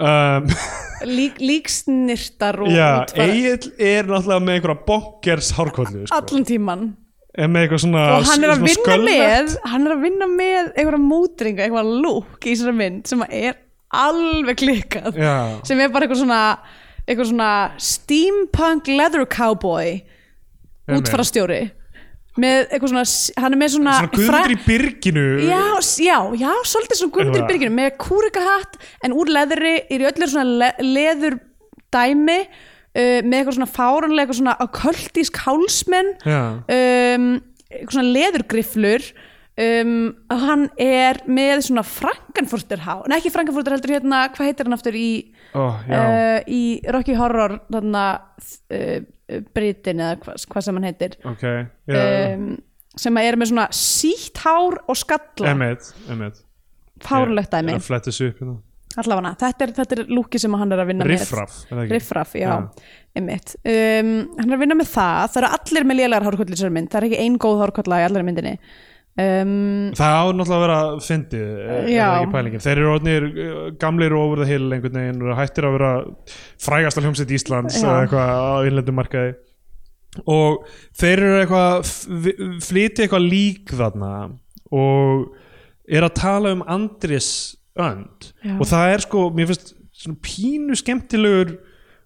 S2: um,
S3: lík, líksnirtar og
S2: já,
S3: útfara-
S2: Egil er náttúrulega með einhverja bonkers hárkollu sko.
S3: allan tíman
S2: En með eitthvað svona
S3: og hann er að
S2: svona
S3: vinna
S2: sköllótt.
S3: með hann er að vinna með einhverja mótringa einhverja lúk í þessari mynd sem er alveg klikkað
S2: Já.
S3: sem er bara eitthvað svona eitthvað svona steampunk leather cowboy
S2: Einmitt.
S3: útfarastjóri með eitthvað svona, hann er með svona,
S2: svona guðundur í byrginu
S3: já, s- já, já, svolítið svona guðmundur
S2: Eitthvað.
S3: byrginu með kúrikahatt en úr leðri er í öllu svona le leður dæmi uh, með eitthvað svona fáranlega eitthvað svona okkultísk hálsmenn
S2: Já.
S3: um, eitthvað svona leðurgriflur um, og hann er með svona franganfurterhá nei ekki franganfurter heldur hérna, hvað heitir hann aftur í,
S2: Ó, já,
S3: uh, í Rocky Horror þarna uh, Britin eða hvað, hvað sem hann heitir
S2: ok já.
S3: um, sem að er með svona sítt hár og skalla
S2: Emmett, Emmett
S3: fárlegt
S2: Ég-
S3: eh, dæmi,
S2: ég fletti þessu upp hérna.
S3: allavega þetta er, þetta er lúki sem hann er að vinna með
S2: Riffraff, er það ekki?
S3: Riffraff, já,
S2: Já.
S3: einmitt um, Hann er að vinna með það, það eru allir með lélegar hárkolli í þessari mynd, það er ekki ein góð hárkolla í allari myndinni um,
S2: Það á náttúrulega að vera fyndið er- er
S3: Já.
S2: það ekki pælingin. Þeir eru orðnir uh, gamlir og over the hill einhvern veginn og hættir að vera frægasta hljómsveit Íslands
S3: Já.
S2: eða eitthvað á innlendum markaði og þeir eru eitthvað f- flytja eitthvað lík þarna og er að tala um Andris önd
S3: Já.
S2: og það er sko, mér finnst svona pínu skemmtilegur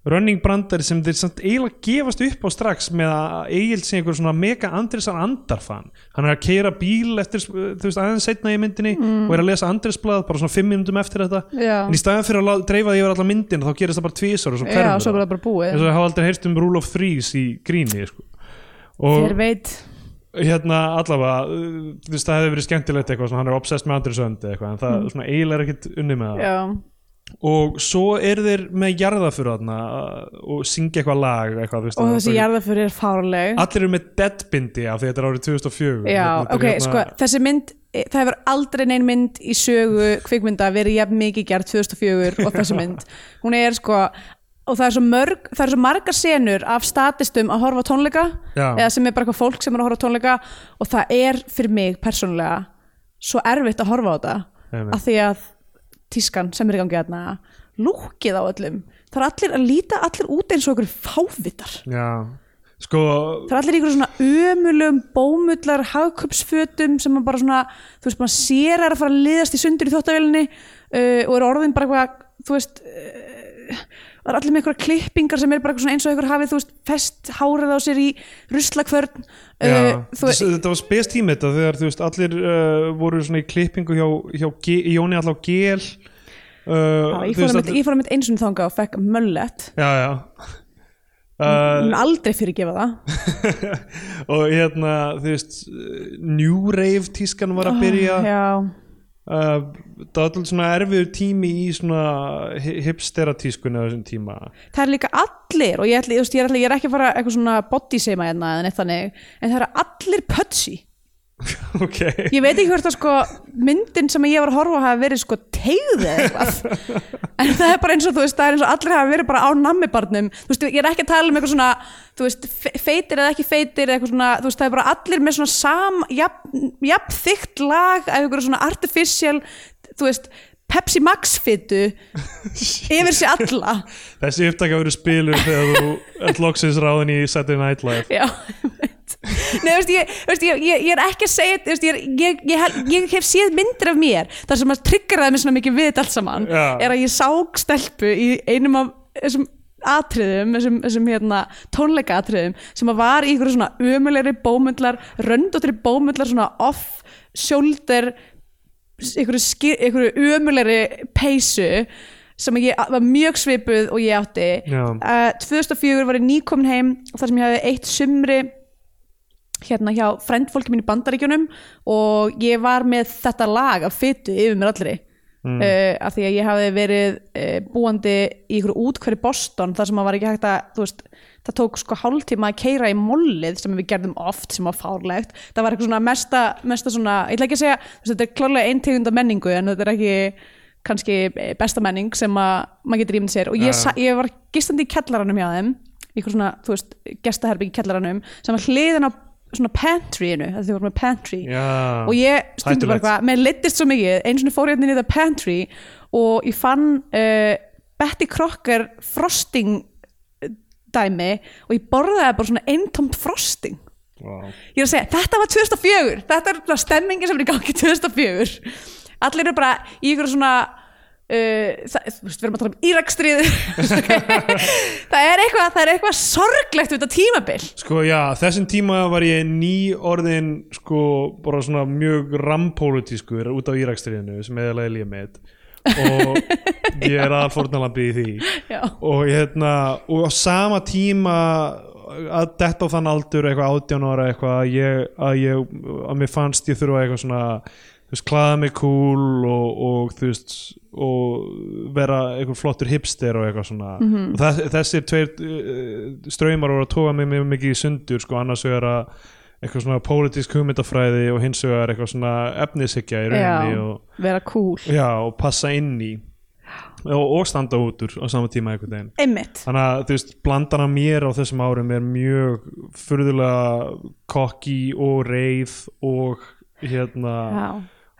S2: running brandari sem þeir samt eiginlega gefast upp á strax með að Egil sé einhver svona mega Andrisar andarfan hann er að keira bíl eftir, þú veist, aðeins setna í myndinni og er að lesa Andrisblad bara svona fimm minnundum eftir þetta
S3: Mm. Já.
S2: en í staðan fyrir að lá- dreifa því yfir alla myndina þá gerist það bara tvísar og svo hverfur
S3: Já, svo er
S2: það
S3: það bara búið
S2: þess að hafa aldrei heyrt um Rule of Threes í gríni sko. og
S3: Þér veit
S2: hérna allavega uh, þú veist, það hefði verið skemmtilegt eitthvað svona, hann er obsessed með Andrisönd eitthvað en það svona eiginlega er ekkit unni með það
S3: Mm. Já,
S2: og svo eru þeir með jarðafur þarna uh, og syngja eitthvað lag eitthvað, þú veist,
S3: og
S2: þannig að
S3: þessi
S2: þau-
S3: jarðaföri er fárleg
S2: allir eru með deadbindi af því þetta er árið 2004
S3: Já,
S2: Þetta er
S3: ok,
S2: hérna-
S3: sko, þessi mynd e, það hefur aldrei neinn mynd í sögu kvikmynda verið jafn mikið gerð 2004 og þessi
S2: <laughs>
S3: mynd, hún er sko og það er svo mörg, það er svo margar senur af statistum að horfa á tónleika
S2: Já.
S3: eða sem er bara eitthvað fólk sem er að horfa á tónleika og það er fyrir mig persónulega svo erfitt að horfa á þetta
S2: Einmitt.
S3: af því að tískan sem er í gangi þarna lúkið á öllum það er allir að líta allir út eins og okkur fávitar
S2: já, sko
S3: það er allir ykkur svona ömulegum bómullar hagköpsfötum sem maður bara svona þú veist maður sér að er að fara að liðast í sundur í þóttavélinni uh, og eru orðin bara eitthvað þú veist uh, það er allir með einhverja klippingar sem er bara eitthvað svona eins og ykkur hafið þú veist fest hárið á sér í ruslakvörn
S2: Já,
S3: uh, þú
S2: þess, þetta var spes tími þetta þegar þú veist allir uh, voru svona í klippingu hjá, hjá G, Jóni allá Gél uh,
S3: Já,
S2: já,
S3: ég fór að mitt, ég fór að mitt eins og þanga og fekk möllet
S2: já, já
S3: uh,
S2: uh,
S3: aldrei fyrirgefa það
S2: og hérna þú veist uh, New Rave tískan var að byrja
S3: Ah, já,
S2: Uh, það var alltaf svona erfiður tími í svona hipsteratískunni á þessum tíma <laughs>
S3: það er líka allir og ég, ætli, þú veist, ég, er, allir, ég er ekki að fara eitthvað svona body seima hérna eða neitt þannig en það eru allir pötsi
S2: ok,
S3: ég veit ekki hvort að sko myndin sem ég var að horfa á hafi verið sko tegð eða eitthvað en það er bara eins og þú veist, það er eins og allir hafi verið bara á nammibarnum, þú veist, ég er ekki að tala um eitthvað svona, þú veist, fe- feitir eða ekki feitir eða eitthvað svona, þú veist, það er bara allir með svona sam, jafn, jafn þykkt lag af eitthvað svona artificial þú veist, Pepsi Max fitu yfir sér alla
S2: þessi upptaka verið spilur þegar þú ert loksins ráðin í Saturday Night Live
S3: já, neitt Nei, veist, ég, veist, ég, ég, ég er ekki að segja veist, ég, er- ég, ég, hel- ég hef séð myndir af mér þar sem að triggraði mig svona mikið við þetta allt saman
S2: Já.
S3: er að ég sá stelpu í einum af þessum atriðum, þessum, þessum hérna, tónleika atriðum sem að var í ykkur svona ömulegri bómyndlar, röndóttri bómyndlar svona off shoulder einhverju, skir, einhverju ömulegri peysu sem ég var mjög svipuð og ég átti
S2: Já.
S3: uh, 2004 var ég nýkomin heim þar sem ég hafði eitt sumri hérna hjá frendfólki mín í bandaríkjunum og ég var með þetta lag af fytu yfir mér allri mm. af því að ég hafði verið uh, búandi í ykkur útkverju Boston þar sem maður var ekki hægt að þú veist, það tók sko hálftíma að keira í mollið sem við gerðum oft sem var fárlegt það var eitthvað svona mesta, mesta svona ég ætla ekki að segja, þú veist, þetta er klárlega ein tegund af menningu en þetta er ekki kannski eh, besta menning sem að maður getur ímynd sér og ég,
S2: Ja.
S3: sa, ég var gistandi í kellaranum hjá þeim í ykkur svona, þú veist, gestaherbygg í kellaranum sem var hliðin á svona pantryinu, þegar þau voru með pantry
S2: Já.
S3: og ég stundur bara
S2: Hættulegt.
S3: eitthvað, mér leittist svo mikið einu svona fór ég hérna inn í það pantry og ég fann uh, Betty Crocker frosting eh, dæmi og ég borðaði bara svona eintomt frosting
S2: Vá.
S3: ég er að segja, þetta var 2004 þetta er bara stemmingi sem er í gangi 2004 allir eru bara í ykkur svona uh, það, þú veist, við erum að tala um Írakstrið <laughs> það er eitthvað það er eitthvað sorglegt við þetta tímabil
S2: Sko já, þessum tíma var ég ný orðin sko bara svona mjög rampólitískur út á Írakstriðinu sem eðalega ég með og ég er að fórnalambið í því
S3: Já.
S2: og hérna og á sama tíma að detta á þann aldur eitthvað átján ára eitthvað að ég, að ég að mér fannst ég þurfa eitthvað svona þú veist, klaða mig cool og, og þú veist og vera einhver flottur hipster og eitthvað svona og þess, þessir tveir uh, ströymar voru að toga mig mjög mikið í sundur sko annars vegar að eitthvað svona pólitísk hugmyndafræði og hins vegar eitthvað svona efnishyggja í rauninni og
S3: vera cool
S2: já, og passa inn í og, og standa út úr á sama tíma einhvern veginn
S3: einmitt,
S2: þannig að þú veist, blandan af mér á þessum árum er mjög furðulega kokki og reið og hérna
S3: já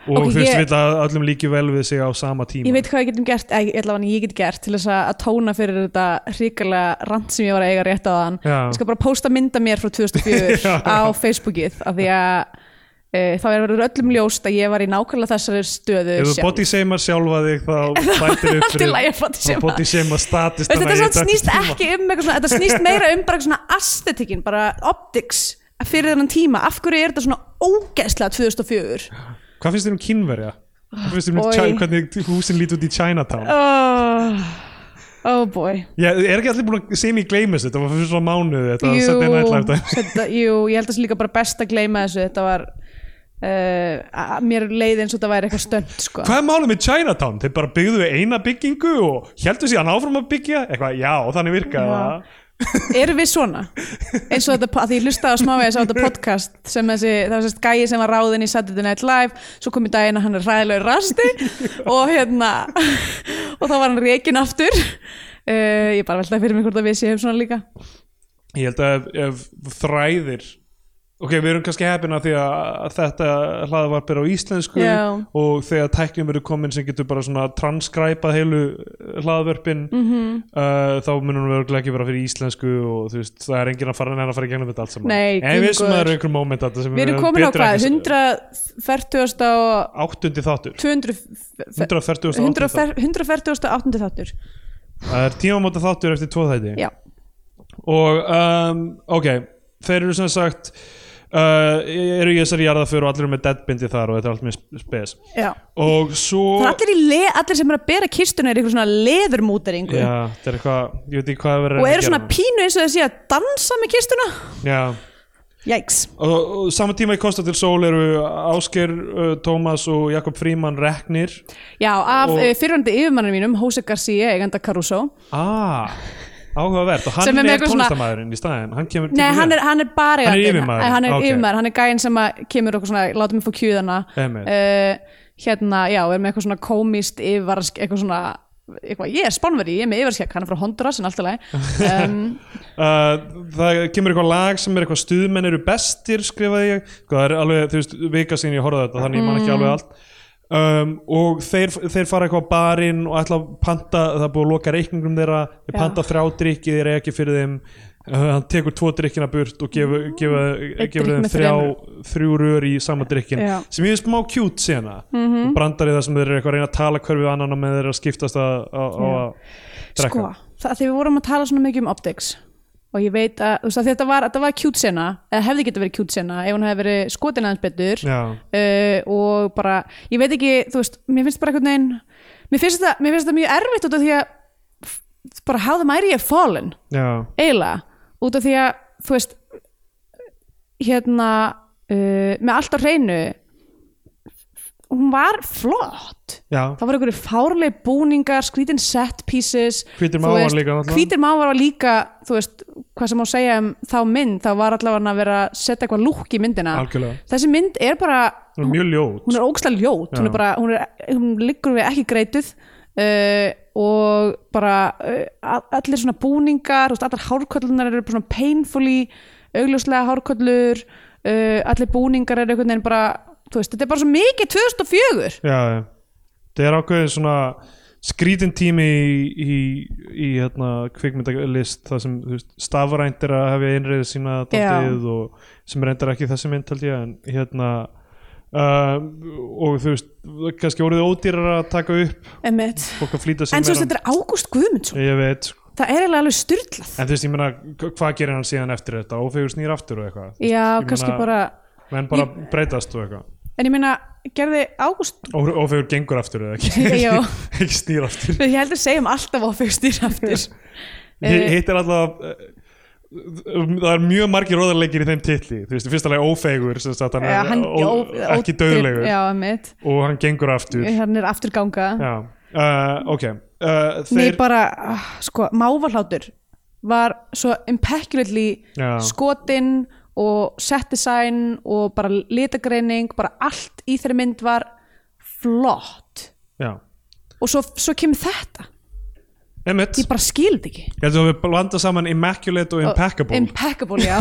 S2: og þú
S3: Ok,
S2: veist,
S3: ég-
S2: vill að öllum líki vel við sig á sama tíma
S3: Ég veit hvað við getum gert, eða allavega ég get gert til þess að að tóna fyrir þetta hrikalega rand sem ég var að eiga rétt á þann
S2: Já.
S3: Ég skal bara posta mynda mér frá 2004
S2: <laughs> Já.
S3: á Facebookið af því að e, þá er verið öllum ljóst að ég var í nákvæmlega þessari stöðu
S2: ef þú body shamear sjálfa þig
S3: <laughs>
S2: þá bætir upp
S3: Allt í lagi að body shama.
S2: þá body shamear statist
S3: Veist, Þetta samt snýst ekki um eitthvað svona, þetta snýst meira um bara svona aesthetikinn, bara optics fyrir þennan tíma, af hverju er þetta svona ógeðslega 2004
S2: hvað finnst þér um kynverja? hvað finnst þér um
S3: Oj.
S2: Chi- hvernig húsin lít út í Chinatown?
S3: Oh, oh boy
S2: Já, er ekki allir búin að sem ég gleymis þetta, var fyrir svona mánuði þetta
S3: Jú,
S2: Saturday Night Live dæmi.
S3: þetta, jú, ég held að það sé líka bara best að gleyma þessu þetta var uh, að- mér leið eins og þetta væri eitthvað stönd sko.
S2: Hvað er málið með Chinatown? Þeir bara byggðu eina byggingu og heldur síðan áfram að byggja eitthvað, já, þannig virkaði
S3: Já.
S2: það
S3: erum við svona? eins og þetta, po- að því ég hlustaði á smávegis
S2: <laughs>
S3: á þetta podcast sem þessi, það var sérst gæi sem var ráðinn í Saturday Night Live, svo kom í daginn að hann er ræðilegur
S2: <laughs>
S3: rasti og hérna og þá var hann reikin aftur uh, ég bara veltaði fyrir mig hvort að við séum svona líka
S2: Ég held að ef, ef þræðir Ok, við erum kannski heppina því að að þetta hlaðvarp er á íslensku
S3: Já.
S2: og þegar tæknum eru komin sem getur bara svona transkræpað heilu hlaðvarpin -hmm.
S3: Mhm.
S2: uh, þá munum við örugglega ekki vera fyrir íslensku og þú veist, það er enginn að fara en að fara í gegnum þetta allt saman.
S3: Nei,
S2: en við vissum að
S3: guð.
S2: það eru einhver moment að
S3: við erum komin á hvað, 140 og
S2: Áttundi þáttur
S3: 200
S2: 140.
S3: 140 8. þáttur
S2: Það er tímamóta þáttur eftir tvo þætti
S3: Já,
S2: og um, ok þeir eru sem sagt uh, eru í þessari jarðaför og allir eru með deadbindi þar og þetta er allt með spes
S3: já.
S2: og svo
S3: Það er allir, í le, allir sem er að bera kistuna er eitthvað svona leðurmúteringu
S2: já, þetta er eitthvað, ég veit ekki hvað er verið að
S3: og eru
S2: gera
S3: svona
S2: núna.
S3: pínu eins og þessi að dansa með kistuna
S2: já
S3: Jæks,
S2: og, og saman tíma í Kosta til Sól eru Ásker, uh, Tómas og Jakob Fríman reknir
S3: já, af
S2: Og-
S3: og... fyrrandi yfirmannum mínum Jose Garcia, eiganda Caruso
S2: ah, áhugavert og
S3: Sem
S2: hann er,
S3: er með
S2: er
S3: eitthvað svona-
S2: tónlistamæðurinn í staðinn hann kemur
S3: Nei,
S2: tekur
S3: hann
S2: við.
S3: er, hann er bara
S2: Hann er
S3: eigandinn.
S2: yfirmaðurinn,
S3: Hann er
S2: ok.
S3: yfirmaður, hann er gæinn sem að kemur okkur svona, láta mig fá kjúðana
S2: Einmitt.
S3: uh, Hérna, já, er með eitthvað svona komist yfirvarsk, eitthvað svona eitthvað, ég er spánveri, ég er með yfirskekk hann er frá Honduras
S2: <laughs>
S3: en allt í lagi um,
S2: Uh, það kemur eitthvað lag sem er eitthvað stuðmenn eru bestir skrifaði ég Sko, það er alveg, þú veist, vika sín ég horfði á þetta þannig ég man ekki
S3: Mm.
S2: alveg allt um, og þeir, þeir fara eitthvað á barinn og ætla að panta, það er búið að loka reikningum þeirra þeir
S3: Já.
S2: panta þrjá drikki, þeir eiga ekki fyrir þeim Uh, hann tekur tvo drikkina burt og gefur, gefur,
S3: Mm. Einn
S2: gefur
S3: drykk
S2: þeim
S3: með
S2: þrjá, þrjú rör í sama drikkin
S3: Já. Mhm.
S2: sem ég finnst smá kjút sena og brandar í það sem þeir eru eitthvað að reyna að tala hverfið annan og með þeir eru að skiptast að, að, að, að
S3: sko,
S2: drekka
S3: það, þegar við vorum að tala svona mikið um optics og ég veit að, þú veist, að þetta var, þetta var cute sena eða hefði getið verið cute sena ef hún hefði verið skotin aðeins betur
S2: Já.
S3: uh, og bara, ég veit ekki þú veist, mér finnst bara einhvern veginn mér finnst þetta, mér finnst þetta mjög erfitt út af því að f- bara how the mighty have fallen
S2: Já.
S3: eiginlega, út af því að þú veist hérna, uh, með allt á hreinu hún var flott
S2: Já.
S3: það var einhverju fárleg búningar skrítin set pieces
S2: Hvítir
S3: þú
S2: mávar
S3: veist,
S2: líka, náttúrulega.
S3: hvítir mávar var líka þú veist, hvað sem má segja um þá mynd þá var allavega að vera að setja eitthvað lúk í myndina
S2: Algjörlega.
S3: þessi mynd er bara
S2: Hún er mjög ljót
S3: hún er ógstlega ljót
S2: Já.
S3: hún, er bara, hún, er, hún liggur við ekki greituð uh, og bara uh, a- allir svona búningar þú veist, allar hárköllunar eru bara svona painfully augljóslega hárköllur uh, allir búningar eru einhvern veginn bara þú veist, þetta er bara svo mikið 2004
S2: Já, já. það er ákveðin svona skrítin tími í, í, í hérna, kvikmyndalist það sem þú veist, stafrænt er að hafa innreiði sína daldið og sem reyndar ekki þessi mynd held ég en hérna uh, og þú veist, kannski orðið ódýrar að taka upp
S3: Einmitt.
S2: fólk að flýta sig
S3: en svo
S2: meira.
S3: þetta er Ágúst Guðmundsson
S2: ég veit, sko.
S3: það er eiginlega alveg styrlað
S2: en þú veist, ég meina hva- hvað gerir hann síðan eftir þetta, ófegur snýr aftur og eitthvað Þú veist,
S3: já,
S2: ég
S3: kannski
S2: meina,
S3: bara
S2: menn bara breytast og eitthvað
S3: en ég meina, gerði Ágúst
S2: Ó- ófegur gengur aftur eða
S3: <laughs>
S2: ekki,
S3: Já.
S2: <laughs> ekki snýr aftur
S3: ég held að segjum alltaf á fyrstýr aftur Eh.
S2: Hi- hitt er alltaf eh, það er mjög margir róðarleikir í þeim titli þú veist, í fyrsta lagi ófeigur sem sagt, hann
S3: Uh, Já,
S2: er
S3: hann,
S2: ó, ekki döðlegur
S3: já, einmitt.
S2: og hann gengur aftur já.
S3: hann hérna er afturganga
S2: Uh, ok uh,
S3: Nei,
S2: þeir,
S3: bara, ah, sko, mávarhlátur var svo impeculately
S2: Já.
S3: skotinn og set design og bara litagreining, bara allt í þeirri mynd var flott
S2: já,
S3: og svo, svo kemur þetta
S2: emitt
S3: ég bara skil þetta ekki
S2: ég held að við blanda saman immaculate og impeccable
S3: impeccable,
S2: <laughs>
S3: já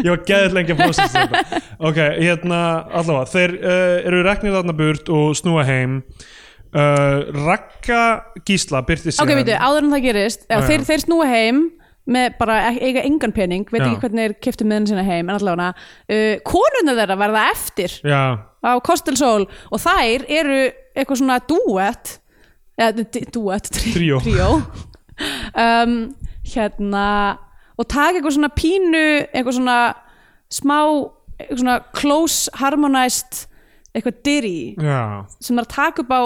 S2: ég var gæðið lengi að prósess þetta ok, hérna, allavega þeir uh, eru reknir þarna burt og snúa heim uh, Rakka Gísla byrti
S3: ok,
S2: síðan
S3: veitu, áður en það gerist já,
S2: Já,
S3: þeir,
S2: já.
S3: þeir snúa heim með bara ek- eiga engan pening, veit
S2: Já.
S3: ekki hvernig þeir keftu miðan sína heim, en allavega uh, konurnar þeirra verða eftir
S2: já,
S3: á Kostel Soul og þær eru eitthvað svona duet eða d- duet, tri-
S2: Tríó.
S3: <laughs> tríó. um, hérna og taka eitthvað svona pínu eitthvað svona smá eitthvað svona close harmonized eitthvað dyrri
S2: já,
S3: sem er að taka upp á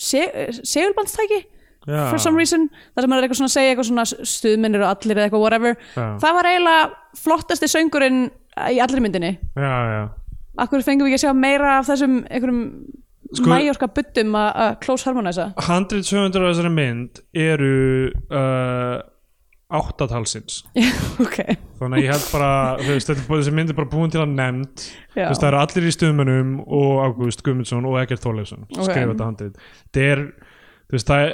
S3: se- segulbandstæki
S2: Já.
S3: for some reason þar sem maður er eitthvað svona að segja eitthvað svona stuðmennir og allir eða eitthvað whatever
S2: Já.
S3: það var eiginlega flottasti söngurinn í allri myndinni
S2: já, já.
S3: Akkur fengum við ekki að sjá meira af þessum einhverjum
S2: Sko-
S3: mæjorka buttum að að close
S2: <laughs>
S3: harmonisa
S2: 100 höfundar af þessari mynd eru uh, áttatalsins
S3: ok,
S2: þannig að ég held bara þú veist, þetta er bara- þessi mynd er bara búin til að nefnd
S3: Já.
S2: Þú veist, það eru allir í stuðmönnum og Ágúst Guðmundsson og Egert Þorleifsson
S3: Ok.
S2: skrifa þetta handið það er, þú veist, það er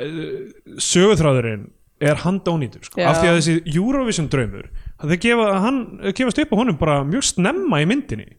S2: sögutráðurinn er handónýtur sko,
S3: Já.
S2: af því að þessi Eurovision draumur það gefa, hann eh, gefast upp á honum bara mjög snemma í myndinni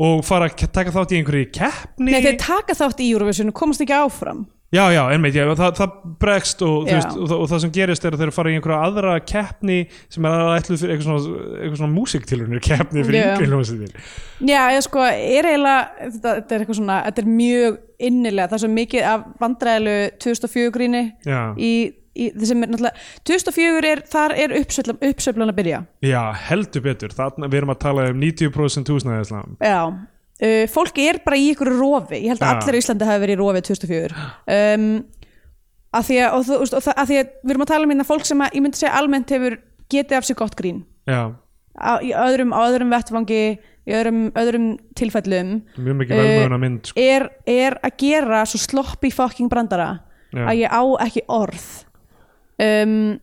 S2: og fara að taka þátt í einhverju keppni
S3: Nei, þeir taka þátt í Eurovision og komast ekki áfram
S2: Já, já, einmitt, já, það, það bregst og, þú
S3: Já.
S2: veist, og, það, og það sem gerist er að þeir fara í einhverja aðra keppni sem er aðra ætluð fyrir eitthvað svona, eitthvað svona músiktilunir keppni fyrir
S3: Já.
S2: yngri hljómsveitir
S3: já, eða sko, er eiginlega þetta, þetta er eitthvað svona, þetta er mjög innilega það er svo mikið af vandræðilu 2004 gríni
S2: Já.
S3: í, í þessum er náttúrulega 2004 er, þar er uppsveiflan uppsveiflan að byrja
S2: Já, heldur betur, þarna við erum að tala um 90% húsnæðislam
S3: Já, uh, fólk er bara í ykkur rofi Ég held að
S2: Já.
S3: allir í Íslandi hafi verið í rofi 2004 um, að því að, og, þú- og, og, að því að við erum að tala um hérna fólk sem að, ég myndi segja almennt hefur getið af sér gott grín
S2: Já,
S3: á, í öðrum, á öðrum vettvangi í öðrum, öðrum tilfellum
S2: mjög mikið
S3: Eh,
S2: velmöðuna mynd sko.
S3: er, er að gera svo sloppy fucking brandara
S2: Já.
S3: að ég á ekki orð um,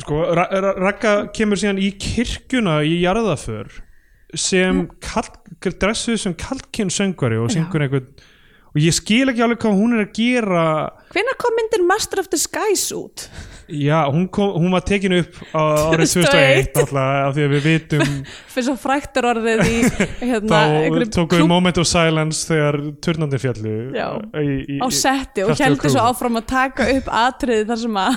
S2: sko, Ra- Ra- Ragga kemur síðan í kirkjuna í jarðaför sem
S3: Mm.
S2: kall, dressuð sem kallkinn söngvari og syngur einhvern og ég skil ekki alveg hvað hún er að gera
S3: Hvenær kom myndin Master of Disguise út?
S2: Já, hún, kom, hún var tekin upp
S3: <laughs>
S2: á árið
S3: 2001,
S2: 2001 náttúrulega af því að við vitum
S3: <laughs> fyrir svo fræktur orðið
S2: <laughs>
S3: í hérna,
S2: þá
S3: einhverjum
S2: tókum við
S3: klúbb
S2: moment of silence þegar turnandi fjallu
S3: Já,
S2: í, í,
S3: á setti og
S2: Kjartan
S3: heldur svo
S2: Krúg.
S3: áfram að taka upp atriði þar sem að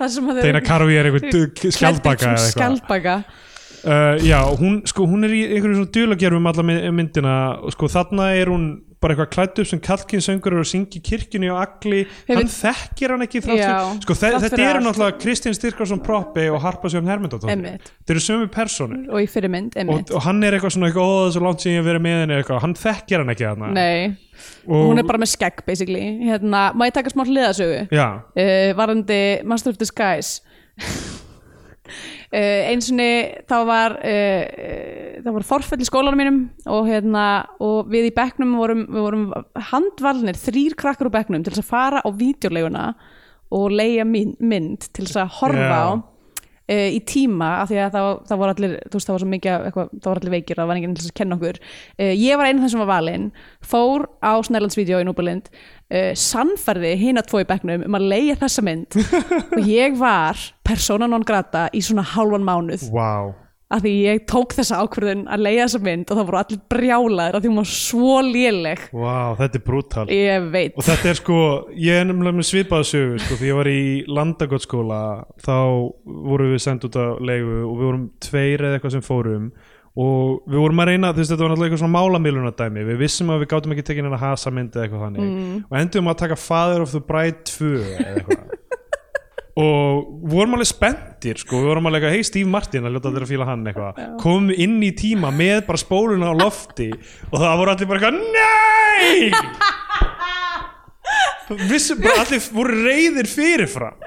S3: þar sem að
S2: Deina Karvi er
S3: Klæddir
S2: eitthvað skjaldbaka eða eitthvað
S3: skjaldbaka
S2: uh, Já, hún, sko, hún er í einhverjum svona dulagerfum alla my- myndina og sko þarna er hún bara eitthvað klætt upp sem kallkinsöngur og syngi kirkjunni og agli
S3: Hefur-
S2: hann þekkir hann ekki þrátt
S3: Já,
S2: fyrir- sko, þe
S3: þrátt
S2: þetta
S3: fyrir
S2: eru
S3: allt.
S2: náttúrulega Kristján Styrkarsson Proppi og Harpa Sjón Hermundóttir
S3: Einmitt.
S2: þetta eru sömu personu
S3: og í fyrirmynd,
S2: og,
S3: einmitt
S2: og hann er eitthvað svona eitthvað, ó það er svo langt sem ég hef verið með henni eitthvað, hann þekkir hann ekki þarna
S3: Nei,
S2: og,
S3: hún er bara með skegg basically, hérna, má ég taka smá hliðasögu
S2: já,
S3: uh, varandi Master of Disguise uh, eins og þá var uh, þá var forfell í skólanum mínum og, hérna, og við í bekknum vorum, við vorum handvalnir þrýr krakkar úr bekknum til þess að fara á vídeoleguna og leia mynd, mynd til þess að
S2: Já.
S3: horfa á uh, í tíma af því að það, það voru allir þú veist það var svo mikið af eitthvað, það voru allir veikir það var enginn til þess að kenna okkur uh, ég var einu þessum var valinn fór á Snælandsvídeó í Núbalind uh, sannferði hina tvo í bekknum um að leiða þessa mynd
S2: <laughs>
S3: og ég var persona non grata í svona hálfan mánuð
S2: wow
S3: af því ég tók þessa ákvörðun að leiða þessa mynd og það voru allir brjálaðir af því hún var svo léleg
S2: Wow, þetta er brútal
S3: ég veit
S2: Og þetta er sko, ég er nefnilega með svipaða sögu sko, því ég var í landagottskóla þá vorum við sendt út að leigu og við vorum tveir eða eitthvað sem fórum og við vorum að reyna, þú veist þetta var náttúrulega eitthvað svona málamilunardæmi, við vissum að við gátum ekki tekin hennar hasa myndi eða eitthvað þannig og endum að taka Father of the Bride 2 eða eitthvað og vorum alveg spenntir sko, við vorum alveg eitthvað, hei Steve Martin að ljóta þér að fíla hann eitthvað, komum inn í tíma með bara spóluna á lofti og það voru allir bara eitthvað, nei Vissum bara allir voru reyðir fyrirfram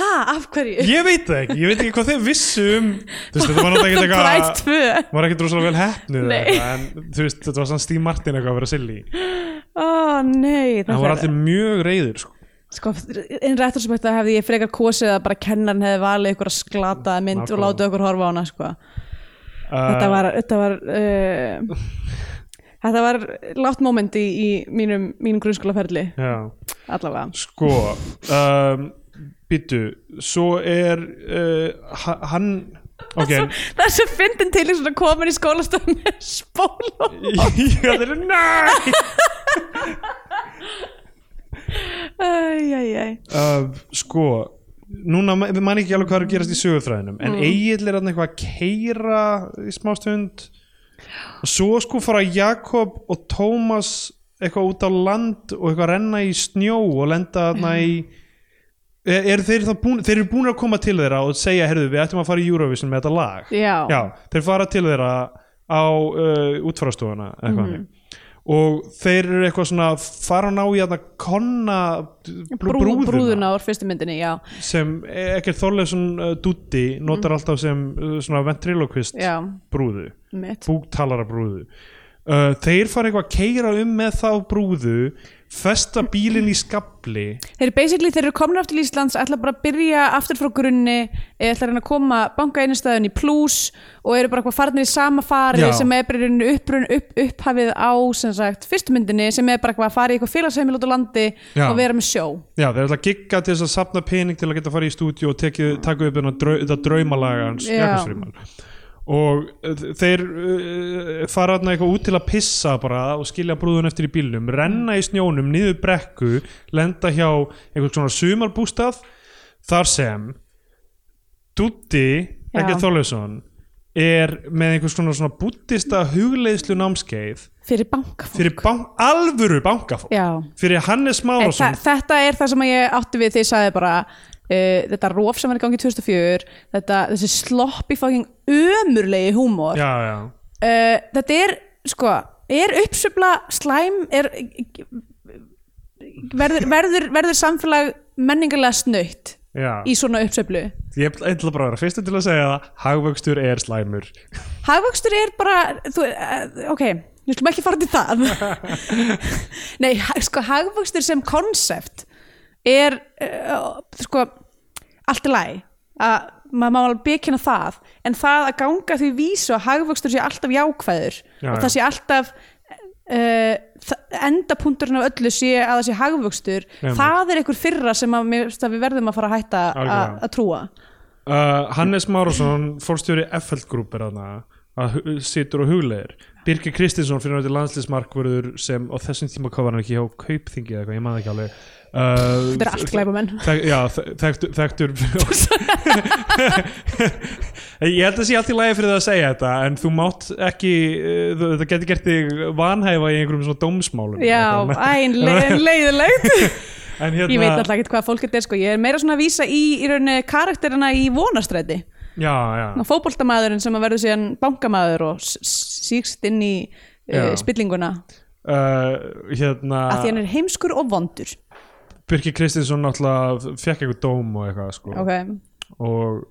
S3: ha, af hverju?
S2: Ég veit það ekki, ég veit ekki hvað þeir vissu um Þú veist, þetta var
S3: <laughs>
S2: náttúrulega ekkert
S3: Bride
S2: eitthvað
S3: 2
S2: Var ekkert rosalega vel heppnuð eða
S3: Nei.
S2: eitthvað, En þú veist, þetta var sann Steve Martin eitthvað að vera silly
S3: ó nei
S2: Það
S3: þetta
S2: voru
S3: er-
S2: allir mjög reyðir sko.
S3: Sko, in retrospekt að hefði ég frekar kosið að bara kennan hefði valið ykkur að sklata mynd og
S2: Nákvæmlega. Eh.
S3: látið okkur horfa á hana sko. þetta var, þetta var uh, þetta var látt moment í, í mínum, mínum grunnskólaferli
S2: Uh, Já,
S3: allavega
S2: sko um, Býtu, svo er uh, ha- Hann Ok, <laughs>
S3: það er svo fyndin til þess að koma í skólastöðum með spól og-
S2: já þeir eru næ
S3: Æ, æ, æ.
S2: uh, sko núna, ma- við mann ekki alveg hvað er að gerast í sögufræðinum en Egil er hann eitthvað að keira í smástund og svo sko fara Jakob og Tómas eitthvað út á land og eitthvað renna í snjó og lenda þarna í er, er þeir, þá búin, þeir eru búin að koma til þeirra og segja, herðu, við ættum að fara í Eurovision með þetta lag
S3: Já.
S2: þeir fara til þeirra á uh, útfarastofuna
S3: Mhm.
S2: eitthvað mm og þeir eru eitthvað svona fara að ná í að konna brú,
S3: Brú,
S2: brúðuna,
S3: brúðuna úr fyrstu myndinni já,
S2: sem ekkert Þorleifsson uh, Dúddi notar alltaf sem uh, svona ventriloquist
S3: Mhm. já,
S2: brúðu
S3: mitt
S2: búktalara brúðu uh, þeir fara eitthvað að keira um með þá brúðu festa bílinn í skabli
S3: Þeir eru basically, þeir eru komin aftur til Íslands, ætla bara að byrja aftur frá grunni, eða ætla að reyna að koma banka einnstæðun í pluss og eru bara eitthvað farnir í sama fari
S2: Já.
S3: sem er bara einu upprun, upp, upphafið á sem sagt, fyrstu myndinni sem er bara eitthvað að fara í eitthvað félagsheimil út á landi
S2: Já.
S3: og vera með sjó.
S2: Já, þeir ætla að gigga til þess að safna pening til að geta að fara í stúdíu og tekið, taka upp þennan drau- þetta draumalaga hans
S3: Já.
S2: Jakobsfríman og uh, þeir uh, fara þarna eitthvað út til að pissa bara og skilja brúðun eftir í bílnum renna í snjónum, niður brekku lenda hjá einhvern svona sumarbústað þar sem Dúddi
S3: Já.
S2: Ekkert Þorleifsson er með einhvers konar svona búttista hugleiðslu námskeið
S3: Fyrir bankafólk.
S2: fyrir bank, alvöru bankafólk
S3: Já.
S2: fyrir Hannes
S3: En þa
S2: Márásson
S3: þetta er það sem ég átti við þegar ég sagði bara uh, þetta rof sem var í gangi 2004, þetta, þessi sloppy fucking ömurlegi húmor.
S2: Já, já
S3: uh, þetta er sko, er uppsöfla slæm er verður, verður, verður samfélag menningarlega snöytt
S2: Já,
S3: í svona uppsöflu
S2: ég ætla bara að vera fyrstu til að segja það hagvöxtur er slæmur
S3: hagvöxtur er bara þú, uh, ok, við slum ekki fara til
S2: <laughs>
S3: það nei, ha- sko hagvöxtur sem konsept er uh, sko allt í lagi að maður má alveg byggja það en það að ganga því vísu að hagvöxtur sé alltaf jákvæður
S2: Já,
S3: og
S2: já.
S3: það sé alltaf uh, þa- endapunkturinn af öllu sé að það sé hagvöxtur
S2: Einmitt.
S3: það er einhver fyrra sem að, mér finnst að við verðum að fara að hætta að
S2: Algjörlega.
S3: að trúa
S2: Uh, Hannes Márásson, fórstjóri FL Group er þarna að hu- situr og huglegir Birgir Kristinsson fyrir náttúrulega landslismarkvörður sem á þessum tíma hvað var hann ekki hjá Kaupþingi eða eitthvað, ég maður ekki alveg uh,
S3: þetta er allt glæpamenn
S2: Þek, já, þe- þekktur, þekktur <laughs> Ég held að sé allt í lagi fyrir það að segja þetta en þú mátt ekki uh, þú- þetta geti gert þig vanhæfa í einhverjum svona dómsmálum
S3: Já,
S2: <laughs>
S3: æn, le leiðilegt
S2: en hérna,
S3: Ég veit alltaf ekki hvað fólk þetta er sko Ég er meira svona að vísa í, í rauninni karakterina í vonastræti
S2: Já, já,
S3: Ná, Fótboltamaðurinn sem að verður síðan bankamaður og s- s- síkst inn í
S2: Já.
S3: uh, spillinguna
S2: uh, hérna
S3: að því hann er heimskur og vondur
S2: Birgir Kristinsson náttúrulega fekk eitthvað dóm og eitthvað sko
S3: Ok,
S2: og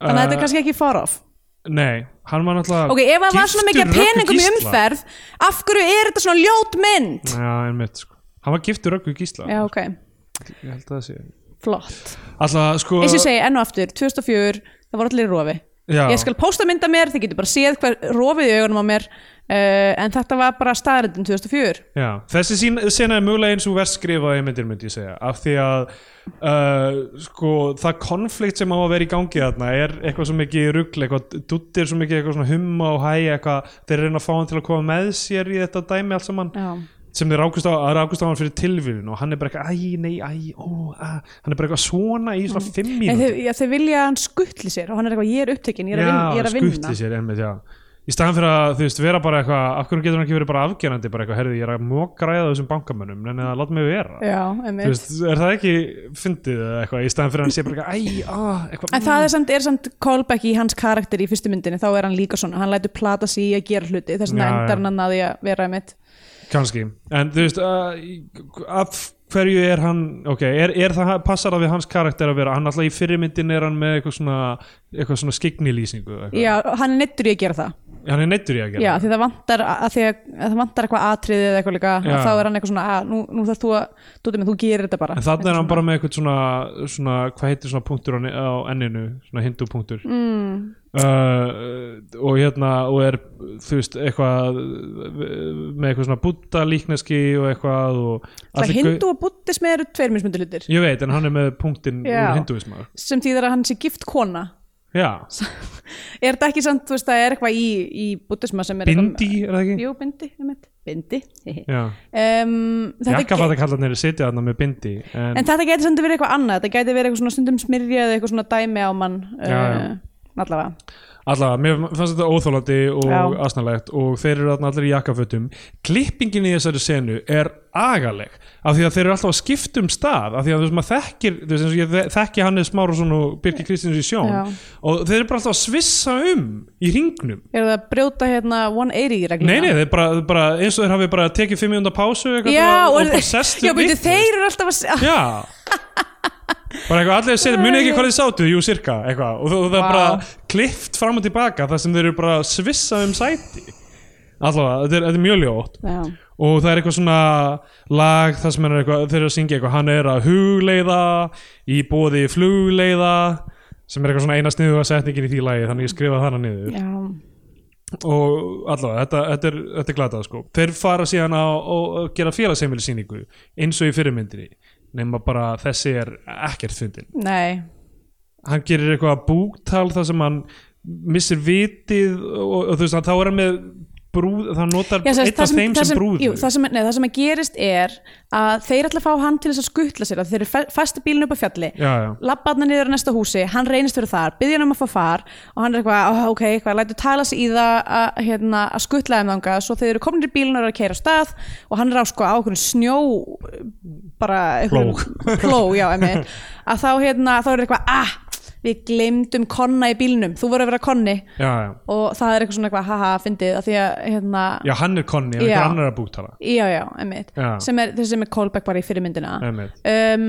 S3: Þannig að þetta er
S2: Eh,
S3: kannski ekki far off
S2: Nei, hann var náttúrulega
S3: Ok, ef hann var svona mikið
S2: giftur
S3: af
S2: Röggu
S3: peningum í
S2: Gísla.
S3: umferð Af hverju er þetta svona ljót mynd?
S2: Já, einmitt sko Hann var giftur röggu gísla
S3: Já, ok,
S2: Ég held að það sé
S3: flott
S2: Alltaf sko
S3: Eins og ég segi enn og aftur, 2004 Það voru allir í rofi
S2: já,
S3: Ég skal pósta mynda mér, þið getur bara séð hver rofið í augunum á mér uh, En þetta var bara staðarindin 2004
S2: já. Þessi sín, sena er mögulega eins og verð skrifaði myndir myndi ég segja Af því að uh, sko það konflikt sem á að vera í gangi þarna er eitthvað svo mikið rugl eitthvað duttir svo mikið eitthvað svona humma og hæ eitthvað þeir reyna að fá hann til að koma með sér í þetta dæmi allt saman
S3: Já,
S2: sem þeir rákust á, að rákust á hann fyrir tilvíðun og hann er bara eitthvað, æ, nei, æ, ó, a, hann er bara eitthvað svona í svona fimm
S3: En
S2: mínútur
S3: Mm. þau, já, þau vilja að hann skuttli sér og hann er eitthvað, ég er upptekinn, ég er að vinna, ég er að vinna.
S2: skutti sér einmitt, já í staðan fyrir að, þú veist, vera bara eitthvað af hverju getur hann ekki verið bara afgerandi, bara eitthvað herði, ég er að mógræða þessum bankamönnum, en það láta mig vera
S3: Já,
S2: þú
S3: einmitt.
S2: veist, er það ekki fyndið eða eitthvað, í staðan fyrir að hann sé bara eitthvað, æ, á, eitthvað mm,
S3: En það er samt, er samt callback í hans karakter í fyrstu myndinni, þá er hann líka svona, hann lætur plata sig í að gera hluti, þess vegna
S2: Já, já.
S3: endar hann að því að vera einmitt.
S2: kannski, en þú veist uh, af hverju er hann ok, er, er það, passar það við hans karakter að vera, hann alltaf í fyrirmyndin er hann með eitthvað svona, eitthvað svona skiknilýsingu eitthvað.
S3: Já, hann er neittur í að gera það.
S2: hann er neittur í að
S3: Já,
S2: gera það.
S3: því það vantar, að, að því að, að það vantar eitthvað atriðið eða eitthvað líka,
S2: Já.
S3: að þá er hann eitthvað svona, að nú, nú þarf þú að, Dóti minn, þú gerir þetta bara.
S2: en þannig er hann bara með eitthvað svona, svona hvað heitir svona punktur á, ne- á enninu svona hindupunktur mm. uh, og hérna og er þú veist eitthvað uh, með eitthvað svona búta líkneski og eitthvað og
S3: Það
S2: allir gau-
S3: hindu og buddismi eru tveir mismundu hlutir,
S2: ég veit en hann er með punktin
S3: Já.
S2: úr hinduismar
S3: sem þýðir að hann sé gift kona.
S2: já,
S3: Er þetta ekki samt, þú veist, það er eitthvað í, í buddisma sem er eitthvað-
S2: bindi er það ekki?
S3: Jú, bindi, um eitt. <laughs> Bindi. um,
S2: já
S3: þetta
S2: Jakka
S3: ge-
S2: fatta kallarnir sitja þarna með bindi en,
S3: en þetta gæti samt verið eitthvað annað, þetta gæti verið eitthvað svona stundum smyrja eða eitthvað svona dæmi á mann
S2: Já, já.
S3: Uh, allavega.
S2: allavega, mér fannst þetta óþólandi og
S3: Já.
S2: asnalegt og þeir eru þarna allir í jakkafötum klippingin í þessari senu er agaleg af því að þeir eru alltaf að skipta um stað af því að þú veist maður þekkir þú veist eins og ég þekki Hannes Márusson og Birgir Kristins í sjón
S3: Já.
S2: og þeir eru bara alltaf að svissa um í ringnum
S3: Eru það að brjóta hérna 180 regluna?
S2: Nei, nei, þeir bara, bara, eins og þeir hafi bara tekið 500 pásu eitthvað
S3: Já,
S2: og,
S3: og,
S2: og bara sestu
S3: já, byrju,
S2: vitlaust.
S3: þeir eru alltaf að se- ah,
S2: Já Bara eitthvað, allir segir, muni ekki hvað þið sátu, jú, sirka, eitthvað Og, þú- og það er
S3: Vá.
S2: bara klift fram og tilbaka þar sem þeir eru bara að svissa um sæti Allavega, þetta er, þetta er mjög ljótt
S3: <laughs> Já,
S2: Og það er eitthvað svona lag þar sem hann er eitthvað, þeir eru að syngja eitthvað Hann er að hugleiða, í bóði flugleiða Sem er eitthvað svona eina sniðuga setningin í því lagi, þannig ég skrifaði þarna niður
S3: já,
S2: og allavega, þetta, þetta, er, þetta er glatað sko. þeir fara síðan á að gera félagsheimilisýningu eins og í fyrirmyndinni nema bara þessi er ekkert fundin
S3: nei
S2: hann gerir eitthvað búktal þar sem hann missir vitið og, og þú veist, hann- þá er hann með brúð, það notar
S3: Já, sem sagt,
S2: einn af þeim
S3: það
S2: sem brúður
S3: jú, það, sem, nei, það sem að gerist er að þeir ætla að fá hann til þess að skuttla sér að þeir eru fæsti bílinu upp á fjalli
S2: já, já.
S3: labba hann niður á næsta húsi, hann reynist fyrir þar byggja hann um að fá far og hann er eitthvað "Ah, ok, eitthvað, lætur tala sig í það að, hérna, að skuttla þeim þanga, svo þeir eru komin í bílun og eru að keira af stað og hann er á sko á okkur snjó bara <laughs> einhverjum- pló, já, emi að þá, hérna, þá er eitthvað ah, við glemdum konna í bílnum þú voru að vera konni
S2: Já, já.
S3: og það er eitthvað svona eitthvað haha, fyndið að því að, hérna,
S2: já, hann er konni, hann er
S3: Já.
S2: einhver annar að búktala
S3: já, já, einmitt
S2: Já.
S3: sem er, þessi sem er callback bara í fyrirmyndina
S2: Einmitt.
S3: um,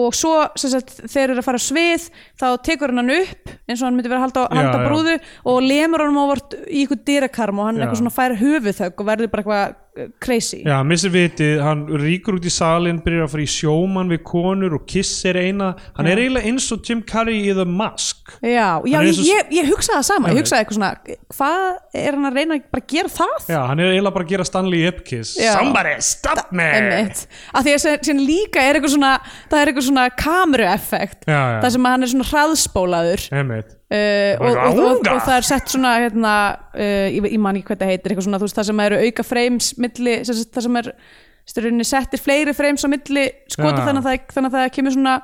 S3: og svo sem sagt, þeir eru að fara á svið þá tekur hann hann upp eins og hann myndi vera að halda,
S2: Já,
S3: halda
S2: já.
S3: brúðu og lemur hann ávart í ykkur dyrakarm og hann
S2: Já.
S3: eitthvað svona fær höfuð þögg og verður bara eitthvað uh, crazy
S2: Já, missir vitið, hann ríkur út í salin byrjar að fara í sjómann við konur og kissir eina, hann er eiginlega eins og Jim Carrey í The Mask
S3: Já, já
S2: Hann er
S3: ég,
S2: eins og-
S3: ég, ég hugsaði það sama,
S2: Já,
S3: ég
S2: ok.
S3: hugsaði eitthvað svona hvað er hann að reyna að bara gera það?
S2: Já, hann er eiginlega bara að gera Stanley Ipkiss
S3: Já.
S2: Somebody stop me
S3: Einmitt. Af því að sem, sem líka er eitthvað svona það er eitthvað svona kamerueffekt
S2: Já, já.
S3: það sem að hann er svona hraðspólaður uh,
S2: Einmitt.
S3: og, og, og, og,
S2: Ranga.
S3: það er sett svona hérna, uh, ég, ég man ekki hvað það heitir eitthvað svona, þú veist, það sem eru auka frames milli, sem sagt, það sem er styrunni settir fleiri frames á milli skota
S2: Já.
S3: þannig að, það, þannig að það kemur svona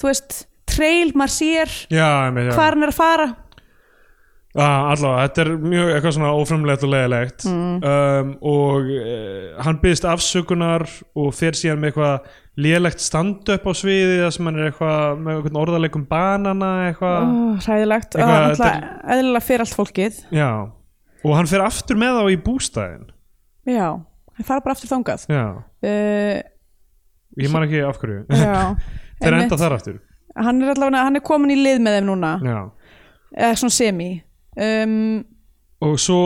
S3: þú veist, trail, maður sér
S2: Já, einmitt, já.
S3: hvað hann er að fara
S2: Ah, allavega, þetta er mjög eitthvað svona óframlegt og leiðilegt
S3: Mm.
S2: um, og uh, hann byggðist afsökunar og fer síðan með eitthvað léðlegt stand-up á sviði þar sem hann er eitthvað með eitthvað orðalegum banana eitthvað,
S3: oh, hræðilegt, og
S2: Eitthvað,
S3: hann alltaf eðlilega fyrir allt fólkið
S2: já og hann fer aftur með þá í bústæðin
S3: já, hann fara bara aftur þangað
S2: já,
S3: uh,
S2: ég man ekki af hverju <laughs>
S3: Já,
S2: þeir
S3: Eh, einmitt.
S2: enda þar aftur
S3: hann er allavega, hann er komin í lið með þeim núna
S2: já.
S3: eða svona semi um,
S2: og svo,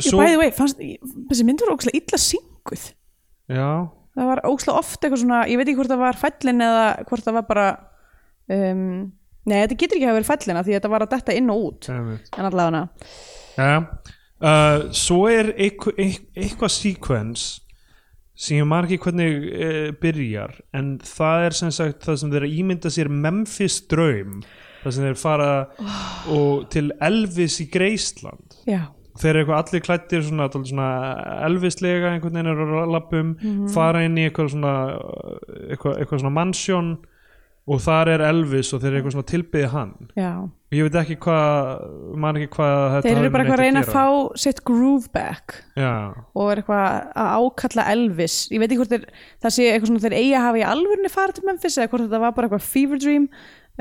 S3: ég
S2: svo
S3: bæði vei, fannst þessi mynd var ógslag illa synguð
S2: já,
S3: það var ógslag oft eitthvað svona ég veit ekki hvort það var fællin eða hvort það var bara um, nei, þetta getur ekki að vera fællina því þetta var að detta inn og út
S2: einmitt
S3: en allavega hana
S2: Já, uh, svo er eitthva, eitthvað sequence sem ég man ekki hvernig uh, byrjar en það er sem sagt það sem þeir eru að ímynda sér Memphis draum það sem þeir fara og, til Elvis í Greisland
S3: já,
S2: þeir eru eitthvað allir klættir svona, dálítið svona Elvislega einhvern veginn eru að lappum
S3: Mhm.
S2: fara inn í eitthvað svona uh, eitthvað, eitthvað svona mansjón og þar er Elvis og þeir eru eitthvað svona tilbyði hann
S3: já
S2: ég veit ekki hvað man ekki hvað þetta
S3: þeir
S2: hafi
S3: eru bara
S2: með
S3: eitthvað að reyna að
S2: gera.
S3: fá sitt groove back
S2: Já,
S3: og er eitthvað að ákalla Elvis ég veit ekki hvort þeir, það sé eitthvað svona þeir eigi að hafa í alvörni farið til Memphis eða hvort þetta var bara eitthvað fever dream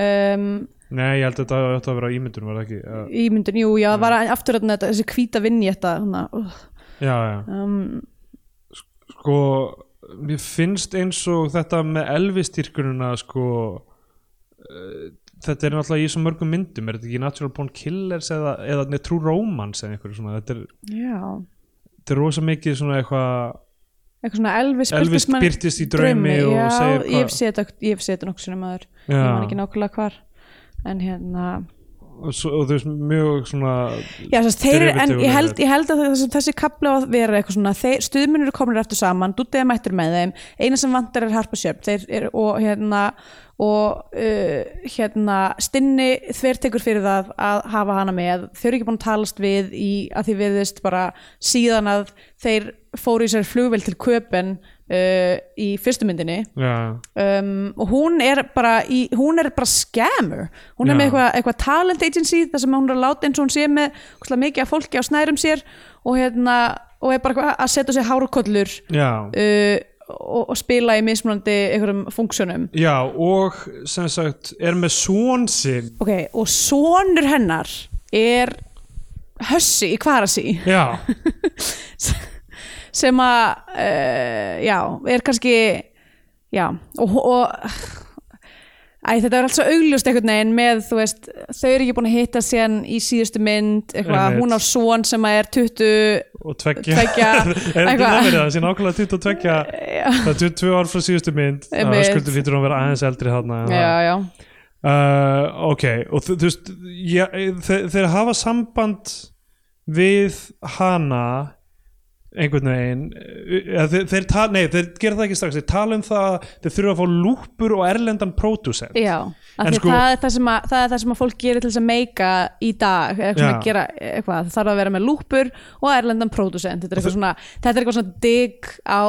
S3: um,
S2: nei, ég held að þetta hafi átt að vera ímyndun, var það ekki? Já,
S3: í myndin, jú, já, það var aftur þarna þetta, þessi hvíta vinni þetta hana, uh,
S2: já, já.
S3: um,
S2: Sko, mér finnst eins og þetta með Elvis-styrkununa, sko, eh, þetta er náttúrulega í svo mörgum myndum, er þetta ekki Natural Born Killers eða, eða nei, True Romance eða einhverju svona, þetta er,
S3: já
S2: þetta er rosa mikið svona eitthvað,
S3: eitthvað svona Elvis,
S2: Elvis
S3: birtist mann-
S2: birtist í draumi og
S3: já,
S2: segir hvað-
S3: ég hef séð þetta- ég hef séð þetta nokkuð sinni maður
S2: Já.
S3: ég man ekki nákvæmlega hvar en hérna
S2: og, svo, og þú veist, mjög svona,
S3: Já, þess, þeir, eru- en
S2: Derivative
S3: ég held,
S2: og-
S3: ég held að þessi, þessi kapla að vera eitthvað svona, þeir, stuðminn eru komnir eftir saman, dúttið er mættir með þeim eina sem vantar er harpa sjöfn þeir eru, og hérna og uh, hérna stinni þver tekur fyrir það að hafa hana með þau eru ekki búin að talast við í að því viðist bara síðan að þeir fóru í sér flugvél til köpen uh, í fyrstu myndinni
S2: já,
S3: um, og hún er bara í, hún er bara scammer hún er
S2: Já.
S3: með eitthvað eitthva talent agency þar sem hún er að láta eins og hún sé með ógeðslega mikið af fólki á snærum sér og, hérna, og er bara eitthvað að setja sér hárukollur
S2: já.
S3: uh, og, og spila í mismunandi einhverjum funksjónum
S2: Já, og sem sagt, er með són sinn,
S3: ok, og sonur hennar er hössi í kvarasi
S2: já,
S3: sem að uh, já, er kannski já, og, og Æ, þetta er allt svo augljóst einhvern veginn með, þú veist, þau eru ekki búin að hitta síðan í síðustu mynd, eitthvað,
S2: Einmitt.
S3: hún á son sem að er 20
S2: og tveggja
S3: Tveggja,
S2: <laughs> er þetta ekki
S3: eitthvað.
S2: það verið það sé nákvæmlega 22 það er 22 ár frá síðustu mynd
S3: Einmitt.
S2: það skuldur lítur hún að vera aðeins eldri þarna en
S3: já,
S2: það-
S3: já,
S2: uh, ok, og þú þú veist ja, þeir, þeir hafa samband við hana einhvern veginn eh, eða þeir, þeir, ta- nei, þeir gera það ekki strax þeir tala um það, að þeir þurfa að fá lúpur og erlendan pródusent
S3: já
S2: En
S3: af því
S2: sko-
S3: það er það sem að, það er það sem að fólk gerir til þess að meika í dag, eitthvað svona
S2: Já.
S3: að gera eitthvað, það þarf að vera með lúpur og erlendan pródusent, þetta er eitthvað svona þetta er eitthvað svona digg á,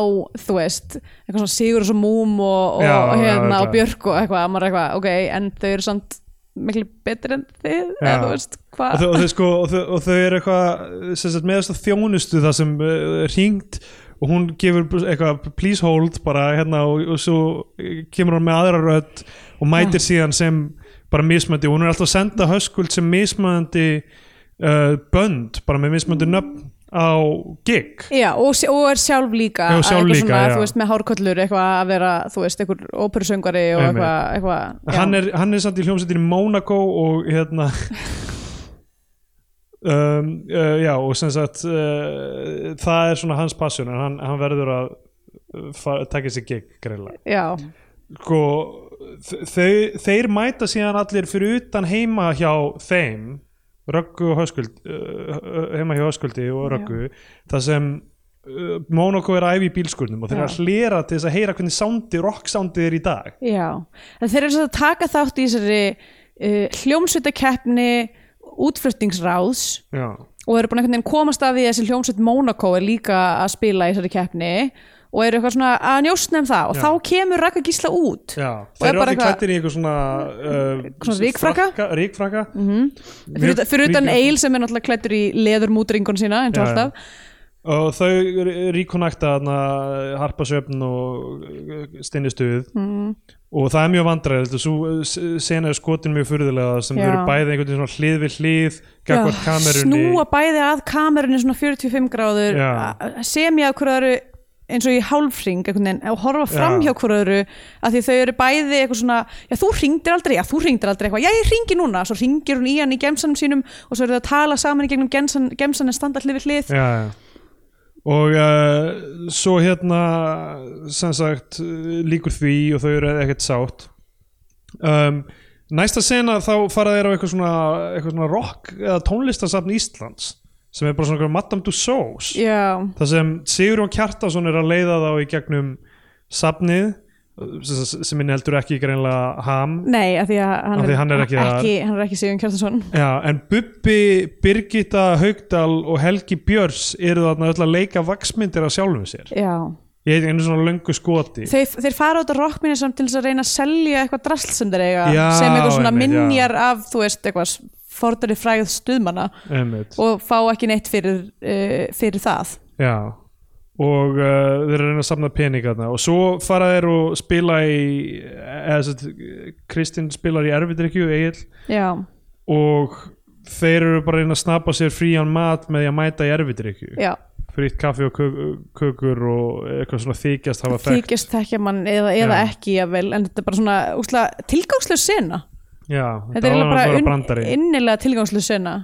S3: þú veist eitthvað svona Sigur og svo Múm og, og,
S2: Já, já,
S3: hérna,
S2: þetta.
S3: og Björk og eitthvað, maður er eitthvað, ok, en þau eru samt miklu betri en þið, eða
S2: Já.
S3: þú veist,
S2: og
S3: hvað
S2: þau, og þau, sko, og þau, og þau eru eitthvað sem sagt, með þess að þjónustu það sem uh, hringt og hún gefur eitthvað please hold bara hérna og, og svo eh, kemur hún með aðra rödd og mætir síðan sem bara mismöndi og hún er alltaf að senda höskuld sem mismöndi uh, bönd bara með mismöndi nöfn á gig
S3: Já, og, s- og er sjálf líka
S2: Já,
S3: að
S2: sjálf
S3: eitthvað
S2: líka, já.
S3: þú veist, með hárköllur eitthvað að vera, þú veist, einhver óperusöngari og
S2: Einmitt.
S3: eitthvað, eitthvað já. <laughs>
S2: hann er, hann er samt í hljómsveitinni Monaco og hérna um, uh, já og sem sagt uh, það er svona hans passion en hann, hann verður að uh, fa- taka sér gig greinlega
S3: já,
S2: sko, þ- þau, þeir mæta síðan allir fyrir utan heima hjá þeim Röggu og Höskuld uh, heima hjá Höskuldi og Röggu þar sem uh, Monaco er að æfi í bílskurnum og þeir eru að
S3: Já.
S2: hlera til þess að heyra hvernig soundi, rock soundið er í dag
S3: já en þeir eru svo að taka þátt í þessari uh, hljómsveitakeppni útflutningsráðs
S2: já,
S3: og eru búin einhvern veginn komast að því að þessi hljómsveit Monaco er líka að spila í þessari keppni og eru eitthvað svona að njóstna um það og
S2: Já.
S3: þá kemur Raka Gísla út
S2: já.
S3: Og
S2: þeir
S3: er
S2: eru
S3: bara
S2: allir
S3: eitthvað-
S2: klættir í eitthvað svona uh,
S3: Svona rykfrakka?
S2: frakka- rykfrakka mm
S3: fyrir, utan- fyrir utan Eil sem er náttúrulega klættur í leðurmútringun sína eins og
S2: Já, já.
S3: alltaf
S2: og þau ríkonakta harpasöfn og stinnistuð mm.
S3: Mhm.
S2: og það er mjög vandræð svo uh, sena er skotin mjög furðulega sem
S3: Já.
S2: þau eru bæði einhvern veginn svona hlið við hlið gagvart kamerunni
S3: snúa bæði að kamerunni svona 45 gráður
S2: Já.
S3: að- semja að hverju öðru eins og í hálfring einhvern veginn og horfa fram hjá
S2: Já.
S3: hverju öðru að því þau eru bæði eitthvað svona já þú ringdir aldrei, já þú ringdir aldrei eitthvað já ég ringi núna, svo ringir hún í hann í gemsanum sínum og svo eru þau að tala saman í gegnum gemsan, gemsan en standa allir við hlið
S2: já, já. og uh, svo hérna sem sagt eh, líkur því og þau eru ekkert sátt um, næsta sena þá fara þeir á eitthvað svona, eitthvað svona rock eða tónlistasafn Íslands sem er bara svona einhver Madame Tussauds
S3: já,
S2: það sem Sigurjón Kjartason er að leiða þá í gegnum safnið sem- sem minn heldur ekki greinlega ham
S3: Nei, af því að hann,
S2: Af því hann er ekki að-
S3: ekki, hann er ekki Sigjón Kjartason
S2: Já, en Bubbi, Birgitta Haugdal og Helgi Björns eru þarna öll að leika vaksmyndir af sjálfum sér
S3: Já
S2: ég heit einu svona löngu skoti
S3: Þeir, þeir fara út á rockminni samt til þess að reyna að selja eitthvað drasl sem þeir eiga
S2: Já,
S3: sem eitthvað svona
S2: einmitt, já.
S3: minjar af, þú veist, eitthvað fordari fræð stuðmanna
S2: Einmitt.
S3: og fá ekki neitt fyrir, uh, fyrir það
S2: Já og uh, þeir eru að reyna að samna peningarna og svo fara þeir og spila í eða sett, Kristinn spilar í erfidrykju Egil
S3: Já,
S2: og þeir eru bara að reyna að snappa sér frían mat með því að mæta í erfidrykju
S3: já,
S2: frýtt kaffi og kö- kökur og eitthvað svona þykjast hafa þekkt
S3: þykist þekkja mann eða, eða
S2: Já.
S3: ekki jafnvel, en þetta er bara svona úsla, tilgangslega sena
S2: Já, var
S3: Þetta er eiginlega
S2: alveg
S3: bara
S2: bara
S3: unn,
S2: brandari
S3: innilega tilgangslega sena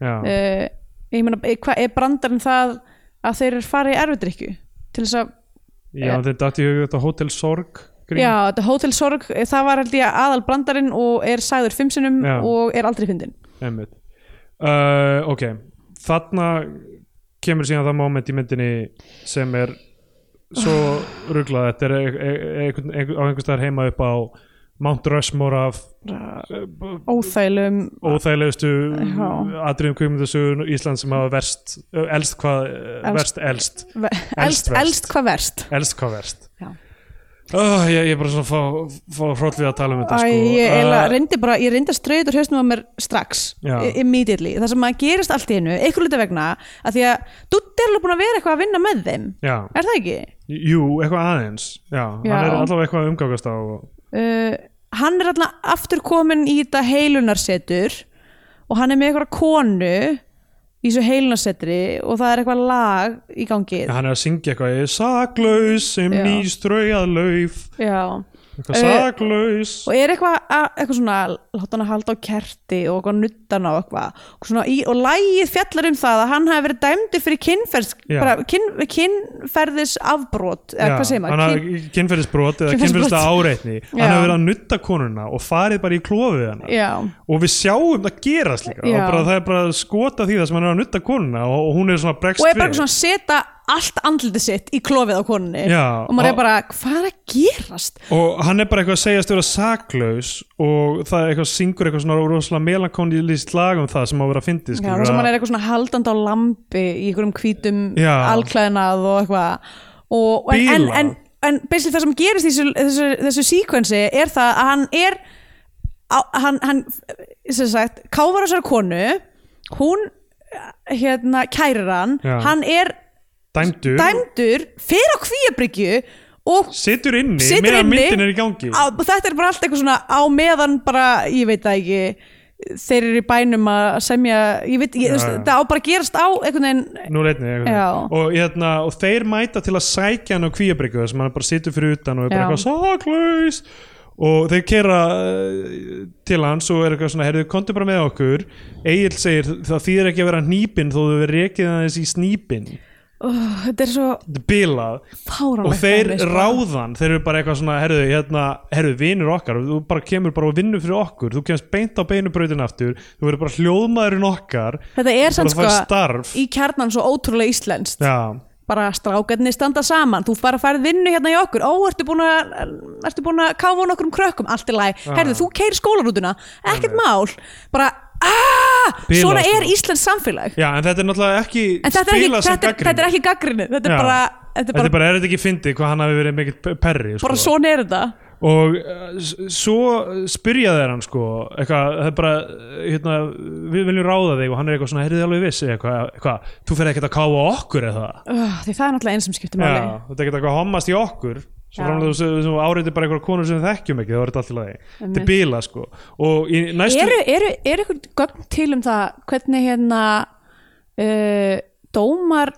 S2: Já,
S3: uh, ég meina, eh, hvað er brandarinn það að þeir eru farið í erfidrykju til þess að
S2: já þeir dætti í hug þetta Hotel Sorg grín.
S3: eh. Já, þetta Hotel Sorg, eh, það var held ég aðal brandarinn og er sæður fimm sinnum
S2: Já.
S3: og er aldrei fyndin.
S2: Einmitt. uh, Ok, þarna kemur síðan það moment í myndinni sem er
S3: <sighs>
S2: svo ruglað, þetta er e- e- e- einhvern- einhver- á einhvers staðar heima upp á Mount Rushmore af uh,
S3: Óþælum,
S2: óþægilegustu
S3: Já.
S2: atriðum kvikmyndasögun Ísland sem hafa verst, elst hvað
S3: Elst.
S2: verst elst, Elst
S3: elst,
S2: verst.
S3: elst hvað verst.
S2: elst hvað verst
S3: Já.
S2: Oh, ég, ég er bara svona að fá, fá hróll við að tala um þetta
S3: Æ,
S2: sko.
S3: ég, eiginlega
S2: Eh,
S3: reyndi bara, ég reyndi að strauði út úr hausnum á mér strax,
S2: Já.
S3: i- immediately. Það sem að gerist allt í hennu, einhver luta vegna, að því að Dutt er alveg búin að vera eitthvað að vinna með þeim.
S2: Já,
S3: Er það ekki?
S2: jú, eitthvað aðeins Já,
S3: Já.
S2: hann er allavega eitthvað að umgangast á og...
S3: Uh, hann er alltaf aftur komin í þetta heilunarsetur og hann er með eitthvað konu í þessu heilunarsetri og það er eitthvað lag í gangi.
S2: Hann er að syngja eitthvað Ég er saklaus sem
S3: Já.
S2: nýströjað lauf
S3: Já.
S2: Eitthvað saklaus
S3: og er eitthvað, að- eitthvað svona láta hann að halda á kerti og eitthvað nuttan á eitthvað og, svona í, og lægið fjallar um það að hann hafi verið dæmdi fyrir kynferðs,
S2: Já.
S3: bara, kyn, kynferðis afbrot eða
S2: Já,
S3: hvað segir
S2: hann
S3: maður
S2: hafði
S3: kyn,
S2: kynferðisbrot eða
S3: Kynferðisbrot.
S2: kynferðislega áreitni
S3: <laughs>
S2: hann
S3: Já.
S2: hafði verið að nutta konuna og farið bara í klofið hana
S3: já,
S2: og við sjáum það gerast líka og
S3: Já.
S2: bara, það er bara að skota því það sem hann er að nutta konuna og, og hún er svona bregst
S3: og er bara eitthvað svona að setja allt andlitið sitt í klofið á konunni
S2: Já,
S3: og maður
S2: og-
S3: er bara, hvað er að gerast
S2: og hann er bara eitthvað að segja stjóra saklaus og það er eitthvað syngur eitthvað svona rosalega melankónilist lag um það sem á að vera að fyndi
S3: já, og sem hann er eitthvað svona haldandi á lampi í einhverjum hvítum
S2: Já.
S3: alklæðnað og eitthvað og, en, en,
S2: Bíla.
S3: en, en basically það sem gerist í þessu, þessu, þessu síkvensi er það að hann er á- hann, hann sem sagt, káfar þessari konu hún hérna kærir hann
S2: Já.
S3: hann er
S2: dæmdur,
S3: dæmdur fyrir á kvíabryggju og
S2: situr inni
S3: Situr
S2: meðan
S3: inni.
S2: myndin er í gangi
S3: á, og þetta er bara allt eitthvað svona á meðan bara, ég veit það ekki þeir eru í bænum að semja ég veit,
S2: Já,
S3: ég, þú veist,
S2: já.
S3: það á bara að gerast á einhvern veginn,
S2: Nú leitni,
S3: Já.
S2: og, hérna, og þeir mæta til að sækja hann á kvíabryggju þar sem hann bara situr fyrir utan og er bara
S3: Já.
S2: eitthvað saklaus og þeir kera til hans og er eitthvað svona herðu, komdu bara með okkur Egil segir það þýðir ekki að vera nýpin þó þau verið rekið aðeins í snípin
S3: oh, þetta er svo
S2: þetta er bilað
S3: fáránlegt
S2: og þeir
S3: dæmi, sko.
S2: ráðan, þeir eru bara eitthvað svona herðu, hérna, herðu, vinur okkar þú bara kemur bara og vinnur fyrir okkur þú kemst beint á beinubrautin aftur þú verður bara hljóðmaðurinn okkar
S3: þetta er
S2: bara
S3: sann
S2: það
S3: sko
S2: er starf
S3: í kjarnan svo ótrúlega íslenskt
S2: já,
S3: bara strákarnir standa saman þú bara færð vinnu hérna í okkur ó, ertu búin að, ertu búin að káfa á nokkrum krökkum allt í lagi,
S2: Ah.
S3: herðu, þú keir skólarútuna ekkert mál, bara aaaah,
S2: Bilað,
S3: svona er
S2: sko.
S3: íslensk samfélag
S2: já, en þetta er náttúrulega ekki
S3: en þetta er ekki,
S2: spilað sem
S3: þetta, er-
S2: gagnrýni.
S3: þetta er ekki gaggrinni þetta er
S2: Já.
S3: bara, þetta er bara,
S2: er þetta ekki fyndið hvað hann hafi verið mikill perri sko.
S3: bara svona er þetta
S2: og uh, s- svo spyrja þeir hann sko eitthvað, það er bara uh, hérna, við viljum ráða þig og hann er eitthvað svona, heyrðið alveg viss eitthvað, eitthvað, þú fer ekkert að káfa okkur eða það
S3: uh, því það er náttúrulega einn sem skiptir máli
S2: Já, þetta er ekkert eitthvað að hommast í okkur
S3: Já.
S2: svo fram að þú sem áriði bara einhverja konur sem við þekkjum ekki, þá er þetta allt í lagi þetta
S3: Einmitt.
S2: er bíla sko og í næstu
S3: eru, eru, eru ykkur gögn til um það hvernig hérna uh, dómar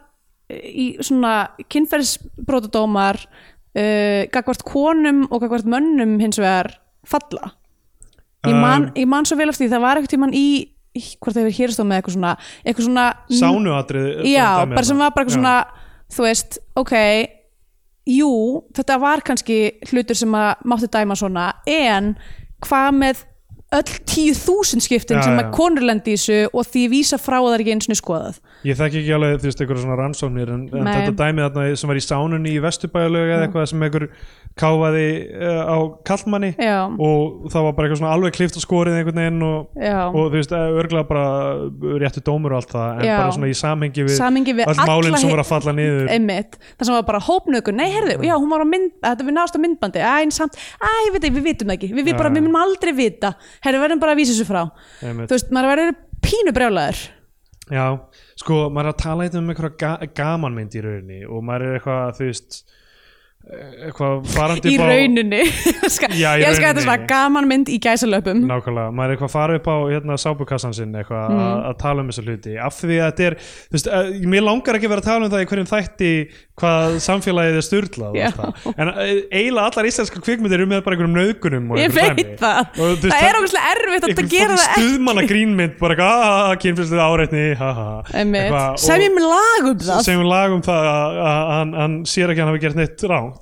S3: eh, í svona kynferðisbrotadómar uh, gagvart konum og gagvart mönnum hins vegar falla ég man,
S2: Um.
S3: ég man svo vel eftir því það var eitthvað tímann í í- hvort það hefur hérist á með eitthvað svona eitthvað svona
S2: sánuatrið
S3: já, bara sem var bara eitthvað svona þú veist, ok jú, þetta var kannski hlutur sem að mátti dæma svona en hvað með öll tíu þúsund skiptin
S2: Já,
S3: sem
S2: já.
S3: að konur lendi í þessu og því vísa frá að það er ekki eins og skoðað
S2: Ég þekki ekki alveg, þú veist, einhverja svona rannsóknir en, en
S3: Nei.
S2: þetta dæmið þarna sem var í sánunni í Vesturbæðalög eða eitthvað sem einhver káfaði uh, á kallmanni
S3: Já.
S2: og það var bara eitthvað svona alveg klift og skorið einhvern veginn og,
S3: Já.
S2: og þú veist, örgla bara réttu dómur og allt það en
S3: Já.
S2: bara svona í samhengi við,
S3: Samhengi við
S2: öll málin
S3: alla
S2: sem
S3: hi-
S2: voru að falla niður
S3: einmitt, það sem var bara hópnökun nei, herðu, já, hún var á mynd, þetta við náðast á myndbandi æ, en samt, æ, ég veit ekki, við vitum það ekki við, við bara,
S2: Já.
S3: við munum aldrei vita, herðu, verðum bara að vísa þessu frá
S2: Einmitt.
S3: þú veist, maður verður pínu brjálæður
S2: Já, sko, maður er að tala eitthvað um einhverja ga gamanmynd í rauninni og maður er eitthvað, þú veist eh, eitthvað farandi
S3: í
S2: upp á-
S3: rauninni <laughs> ég elska
S2: Já, í
S3: ég elska þetta
S2: rauninni.
S3: svona gaman mynd í gæsalöpum
S2: Nákvæmlega, maður er eitthvað að fara upp á hérna, sápukassan sinn eitthvað að,
S3: Mm.
S2: að tala um þessa hluti af því að þetta er, þú veist, að, mér langar ekki að vera að tala um það í hverjum þætti hvað samfélagið er styrlað
S3: Já.
S2: en eh, eiginlega allar íslenska kvikmyndir eru með bara einhverjum nöðgunum
S3: ég veit það, það er ógæslega erfitt að gera það ekki
S2: stuðmanna grínmynd bara eitthvað, aaa, kynfyrstuð áreitni
S3: Einmitt. sem ég með lag um það
S2: sem lag um það að að hann, hann sér ekki að hann hafi gert neitt ránt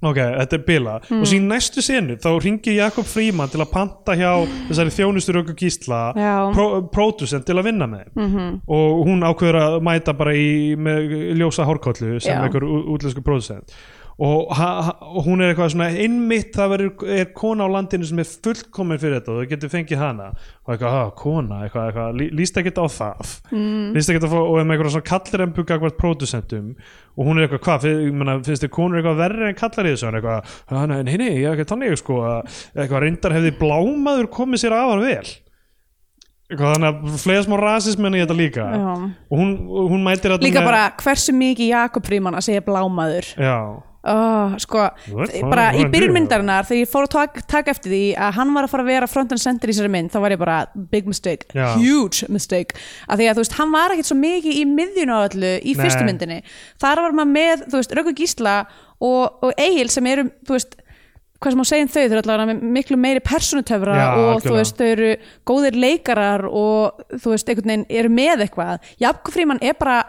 S2: ok, þetta er bila og
S3: Hmm.
S2: síðan næstu senu þá ringir Jakob Fríman til að panta hjá þessari þjónustur okkur gísla
S3: Já.
S2: pró- pródusent til að vinna með mm -hmm. og hún ákveður að mæta bara í með ljósa hórkollu sem
S3: Já.
S2: einhver ú- útlensku pródusent og, ha, ha, og hún er eitthvað svona einmitt það verður, er kona á landinu sem er fullkomin fyrir þetta og þau getur fengið hana og eitthvað, ha, kona, eitthvað, eitthvað lí- líst ekkert á það mm. líst ekkert á það og er með eitthvað svona kallrempu gagvart pródusentum og hún er eitthvað, hvað, fi- ég meina, finnst þið konur eitthvað verri en kallar í þessu hann er eitthvað, "Ha, nei, nei, nei, ég er ekki þannig sko, að- eitthvað reyndar hefði blámaður komið sér afar vel eitthvað, þannig að flega smá rasismenn í þetta líka
S3: Já.
S2: og hún, og hún mætir þarna
S3: líka
S2: með-
S3: bara hversu mikið Jakob Fríman að segja blámaður
S2: Já,
S3: oh, sko,
S2: Þú ert
S3: bara
S2: farin- um
S3: í
S2: farin fyrir
S3: byrjunmyndarinnar þegar ég fór að taka tak eftir því að hann var að fara að vera front and center í sér mynd þá var ég bara big mistake,
S2: Já.
S3: huge mistake af því að þú veist, hann var ekkert svo mikið í miðjun á öllu í
S2: Nei.
S3: fyrstu myndinni þar var maður með, þú veist, Röggu Gísla og, og Egil sem eru, þú veist hvað sem á segjum þau, þau eru allavega með miklu meiri personutöfra
S2: Já,
S3: og
S2: algjörlega.
S3: þú veist þau eru góðir leikarar og þú veist, einhvern veginn eru með eitthvað Jakob Fríman er bara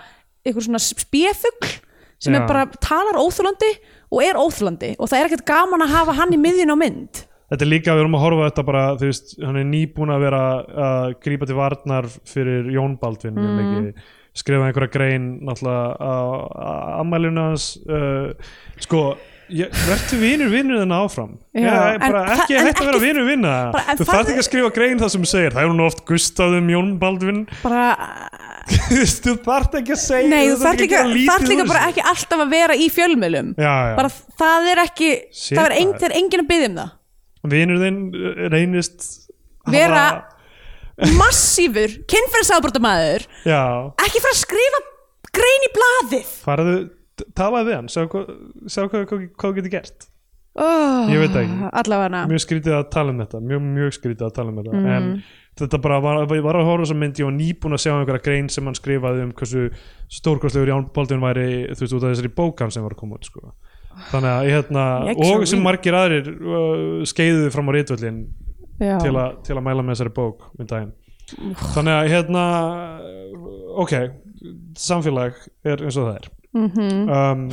S3: einhver svona spéfugl sem
S2: Já.
S3: er bara talar óþúlandi og er óþúlandi og það er ekkert gaman að hafa hann í miðjun á mynd
S2: Þetta er líka, við erum að horfa á þetta bara, þú veist, hann er nýbúin að vera að grípa til varnar fyrir Jón Baldvin, mm. ekki skrifa einhverja grein, náttúrulega á ammælinu hans uh, sko, ég- vertu vinur vinur þennan áfram,
S3: Já,
S2: Ég-
S3: en
S2: bara
S3: það-
S2: ekki
S3: en
S2: hægt að vera
S3: ekki-
S2: vinur vinna
S3: bara- en
S2: þú
S3: það-
S2: þarf ekki að skrifa grein það sem þú segir, það er nú oft gustað um Jón
S3: <laughs>
S2: Baldvin,
S3: bara,
S2: Þú veist, þú þarf ekki að segja
S3: nei, þú
S2: þarft
S3: þarf líka,
S2: að gera lítið
S3: þarf líka
S2: úr
S3: bara
S2: þessu.
S3: ekki alltaf að vera í fjölmjölum
S2: Já, já.
S3: bara það er ekki
S2: Sé
S3: það er, ein,
S2: það.
S3: það er engin að byggja um það
S2: vinur þinn uh, reynist hafa-
S3: Vera- massífur, kynferðsábrotamæður
S2: já,
S3: ekki fara að skrifa grein í blaðið
S2: farðu, t- talaðu við hann sjá hvað, sjá hvað, hvað, hvað þú getur gert
S3: oh,
S2: Ég veit það ekki.
S3: allavega
S2: mjög skrítið að tala um þetta mjög, mjög skrítið að tala um þetta
S3: Mhm.
S2: en þetta bara var, ég var að horfa sem mynd ég var nýbúin að sjá einhverja grein sem hann skrifaði um hversu stórkostlegur Ján Baldvin væri þú veist út af þessari bókan sem var að koma út sko. þannig að hérna,
S3: Ég
S2: og
S3: svo
S2: sem
S3: í.
S2: margir aðrir uh, skeiðu fram á rítvöllin
S3: já,
S2: til, a, til að mæla með þessari bók um daginn þannig að hérna ok, samfélag er eins og það er mm
S3: Mhm.
S2: -hmm. um,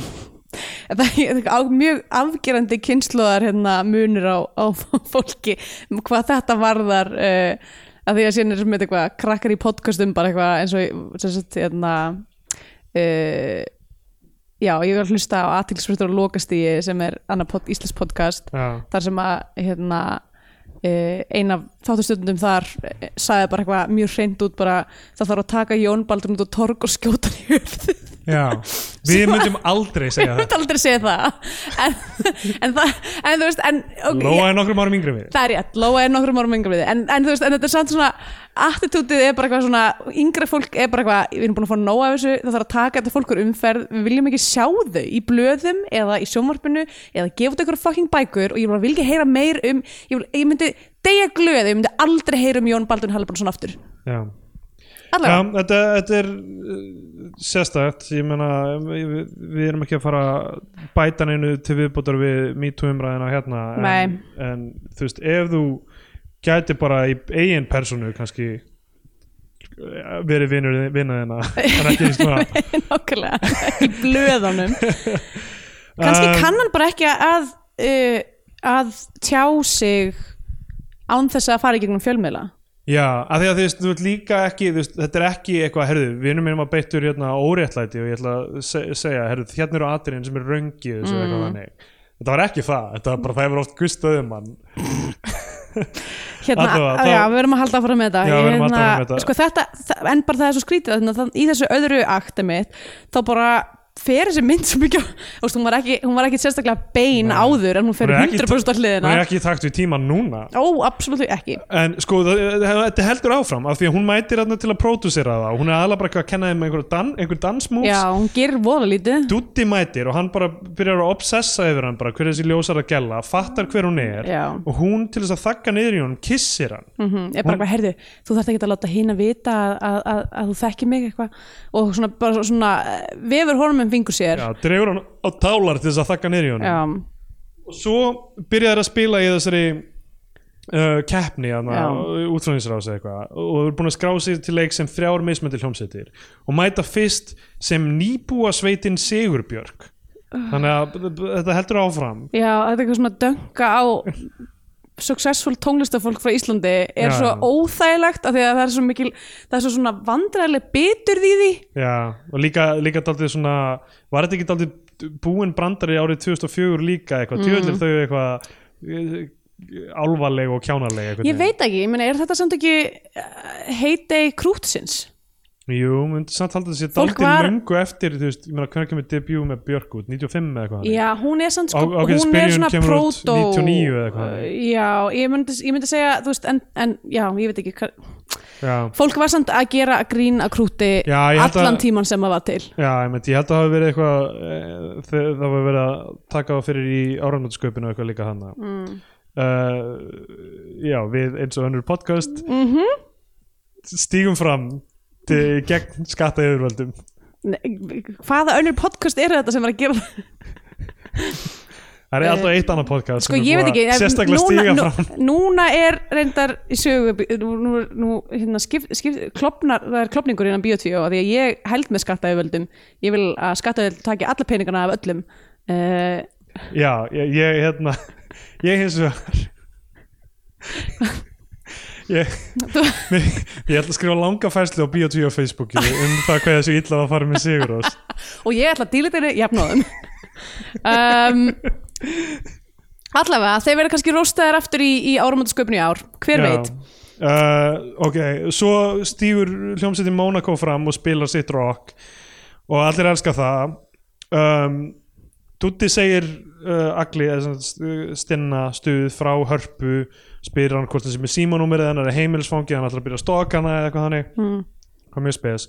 S3: það er á mjög afgerandi kynnslóðar hérna, munur á, á <laughs> fólki hvað þetta varðar uh, að því að síðan er sem eitthvað krakkar í podcastum bara eitthvað eins og sem sagt, hérna, uh, já, ég vil hlusta á aðtilsfröstur og lokastíi sem er annar pod, íslensk podcast
S2: já,
S3: þar sem að hérna, eh, ein af þáttustundum þar eh, sagði bara eitthvað mjög hreint út bara það þarf að taka Jón Baldur út á torg og skjóta hann í höfð
S2: já.
S3: <laughs>
S2: við myndum aldrei segja
S3: ég
S2: það
S3: myndi aldrei segja það en, en það, en þú veist en, ok, ég-
S2: Lóa er nokkrum árum yngri en við
S3: það er rétt, Lóa er nokkrum árum yngra við þig. en, en þú veist, en þetta er samt svona attitútið er bara eitthvað svona, yngra fólk er bara eitthvað, við erum búin að fá nóg af þessu það þarf að taka þetta fólkur umferð, við viljum ekki sjá þau í blöðum eða í sjónvarpinu eða gefa þetta ykkur fucking bækur og ég bara vil ekki heyra meir um ég, vil, ég myndi degja glöð, ef ég myndi aldrei heyra um Jón Baldun Hallibrandsson aftur
S2: já. Já,
S3: allavega,
S2: þetta, þetta er uh, sérstætt, ég meina við, við erum ekki að fara að bæta neinu til viðbútar við MeToo umræðina hérna en,
S3: Nei.
S2: en þú veist, ef þú gæti bara í eigin personu kannski uh, verið vinur <laughs> vinnaðina kannski
S3: <laughs> nákvæmlega í blöðunum
S2: Um,
S3: kannski kann hann bara ekki að uh, að tjá sig án þess að fara í gegnum fjölmiðla
S2: Já, af því að þú veist, þú veist líka ekki þú veist, þetta er ekki eitthvað, herðu, vinur minn var beittur hérna óréttlæti og ég ætla að se segja herðu, hérna eru atriðin sem er röngi þessu mm. eitthvað þannig, þetta var ekki það þetta var bara það hefur oft gustað um hann
S3: hérna,
S2: Allavega,
S3: á,
S2: þá-
S3: já, við erum að halda áfram með þetta
S2: Já, við erum að halda
S3: Hérna,
S2: áfram með þetta.
S3: sko, þetta, það- en bara það er svo skrítið þannig að það- í þessu öðru akta mitt þá bara fer þessi mynd svo mikið á- þú veist, hún var ekki, hún var ekki sérstaklega bein áður en hún fer
S2: Hún er ekki-
S3: 100% á hliðina
S2: Hún er ekki í takt við tíman núna
S3: ó, absolutt ekki
S2: En sko, það- það- þetta heldur áfram af því að hún mætir þarna til að pródúsera það og hún er aðlega bara eitthvað að kenna þeim einhver, dan, einhver dansmús
S3: já, hún gerir voða lítið
S2: Dutti mætir og hann bara byrjar að obsessa yfir hann bara hver þessi ljósar að gæla fattar hver hún er
S3: Já.
S2: og hún til þess að þakka niður í honum kissir hann
S3: mm er bara eitthvað, herðu, þú þarft ekki að láta hinn að vita að, að, að, að þú þekkir mig eitthvað og svona, bara svona eh, vefur honum um fingur sér
S2: Já, dregur hann á tálar til þess að þakka niður í honum
S3: Já.
S2: og svo byrjar þær að spila í þessari uh, keppni
S3: Já.
S2: útflóðinsrási eitthvað og þú eru búin að skrá sig til leik sem þrjár mismöndi hljómsveitir og mæta fyrst sem nýbúa sveitin Sigurbjörg þannig að b- b- þetta heldur áfram
S3: Já, þetta er eitthvað svona dönga á successful tónlistafólk frá Íslandi er
S2: Já.
S3: svo óþægilegt af því að það er svo mikil það er svo svona vandræðileg biturð í því
S2: Já, og líka, líka daldið svona var þetta ekki daldið búin brandari árið 2004 líka eitthvað,
S3: Mm.
S2: tjóðlir þau eitthvað eh, álfaleg og kjánaleg eitthvað
S3: Ég veit ekki, ég meina, er þetta samt ekki eh, heyday krútsins?
S2: Jú, myndi samt halda þessi
S3: Fólk
S2: daldið
S3: var-
S2: var... löngu eftir, þú veist, ég meina hvernig kemur debut með Björk út, 95 eða eitthvað
S3: Já, hún er samt sko,
S2: Á- ágætis
S3: hún er
S2: byrjun
S3: svona
S2: kemur út
S3: proto
S2: 99 eða eitthvað.
S3: Já, ég myndi, ég myndi segja, þú veist, en, en já, ég veit ekki hvað
S2: Já,
S3: Fólk var samt að gera grín að krúti
S2: Já, ég held að-
S3: allan tíman sem það var til
S2: já ég, myndi, ég held að það hafi verið eitthvað eh, þe- það hafi verið að taka á fyrir í áramnótsköpinu eitthvað líka hana mm. Já, við eins og önnur podcast mm
S3: Mhm.
S2: -hmm. stígum fram
S3: <laughs>
S2: til, gegn skatta yfirvöldum
S3: Nei, Hvaða önnur podcast eru þetta sem var að gera
S2: Það er alltaf eitt annað podcast
S3: Sko
S2: sem er
S3: ég veit
S2: búið
S3: ekki
S2: að
S3: ef-
S2: Sérstaklega stíga fram
S3: nú, Núna er reyndar í sögu Nú, nú, nú hérna, skip, skip, klopnar, það er klopningur innan biotíu Því að ég held með skattaauðvöldum Ég vil að skattaauðvöld taki alla peningana af öllum uh,
S2: Já, ég, ég hérna <laughs> Ég hins vegar <laughs> Ég, mér, <laughs> ég ætla að skrifa langa færslu á Bíotví á Facebooki um það hvað þessu illa var að fara með Sigurós
S3: Og ég ætla að dýla þeirri
S2: <laughs>
S3: jafnóðum um, Allavega, þeir verða kannski róstaðir aftur í, í áramöndaskaupinu í ár Hver veit
S2: uh, ok, svo stígur hljómsveitin Monaco fram og spilar sitt rock og allir elska það um, Dutti segir uh, Agli, eða sem sagt, st- stinna stuð frá hörpu spyr hann hvort þessi með símanúmerið hennar er heimilsfangi hann ætlar að byrja að stóka hana eða eitthvað þannig mm.
S3: Hmm.
S2: hvað mjög spes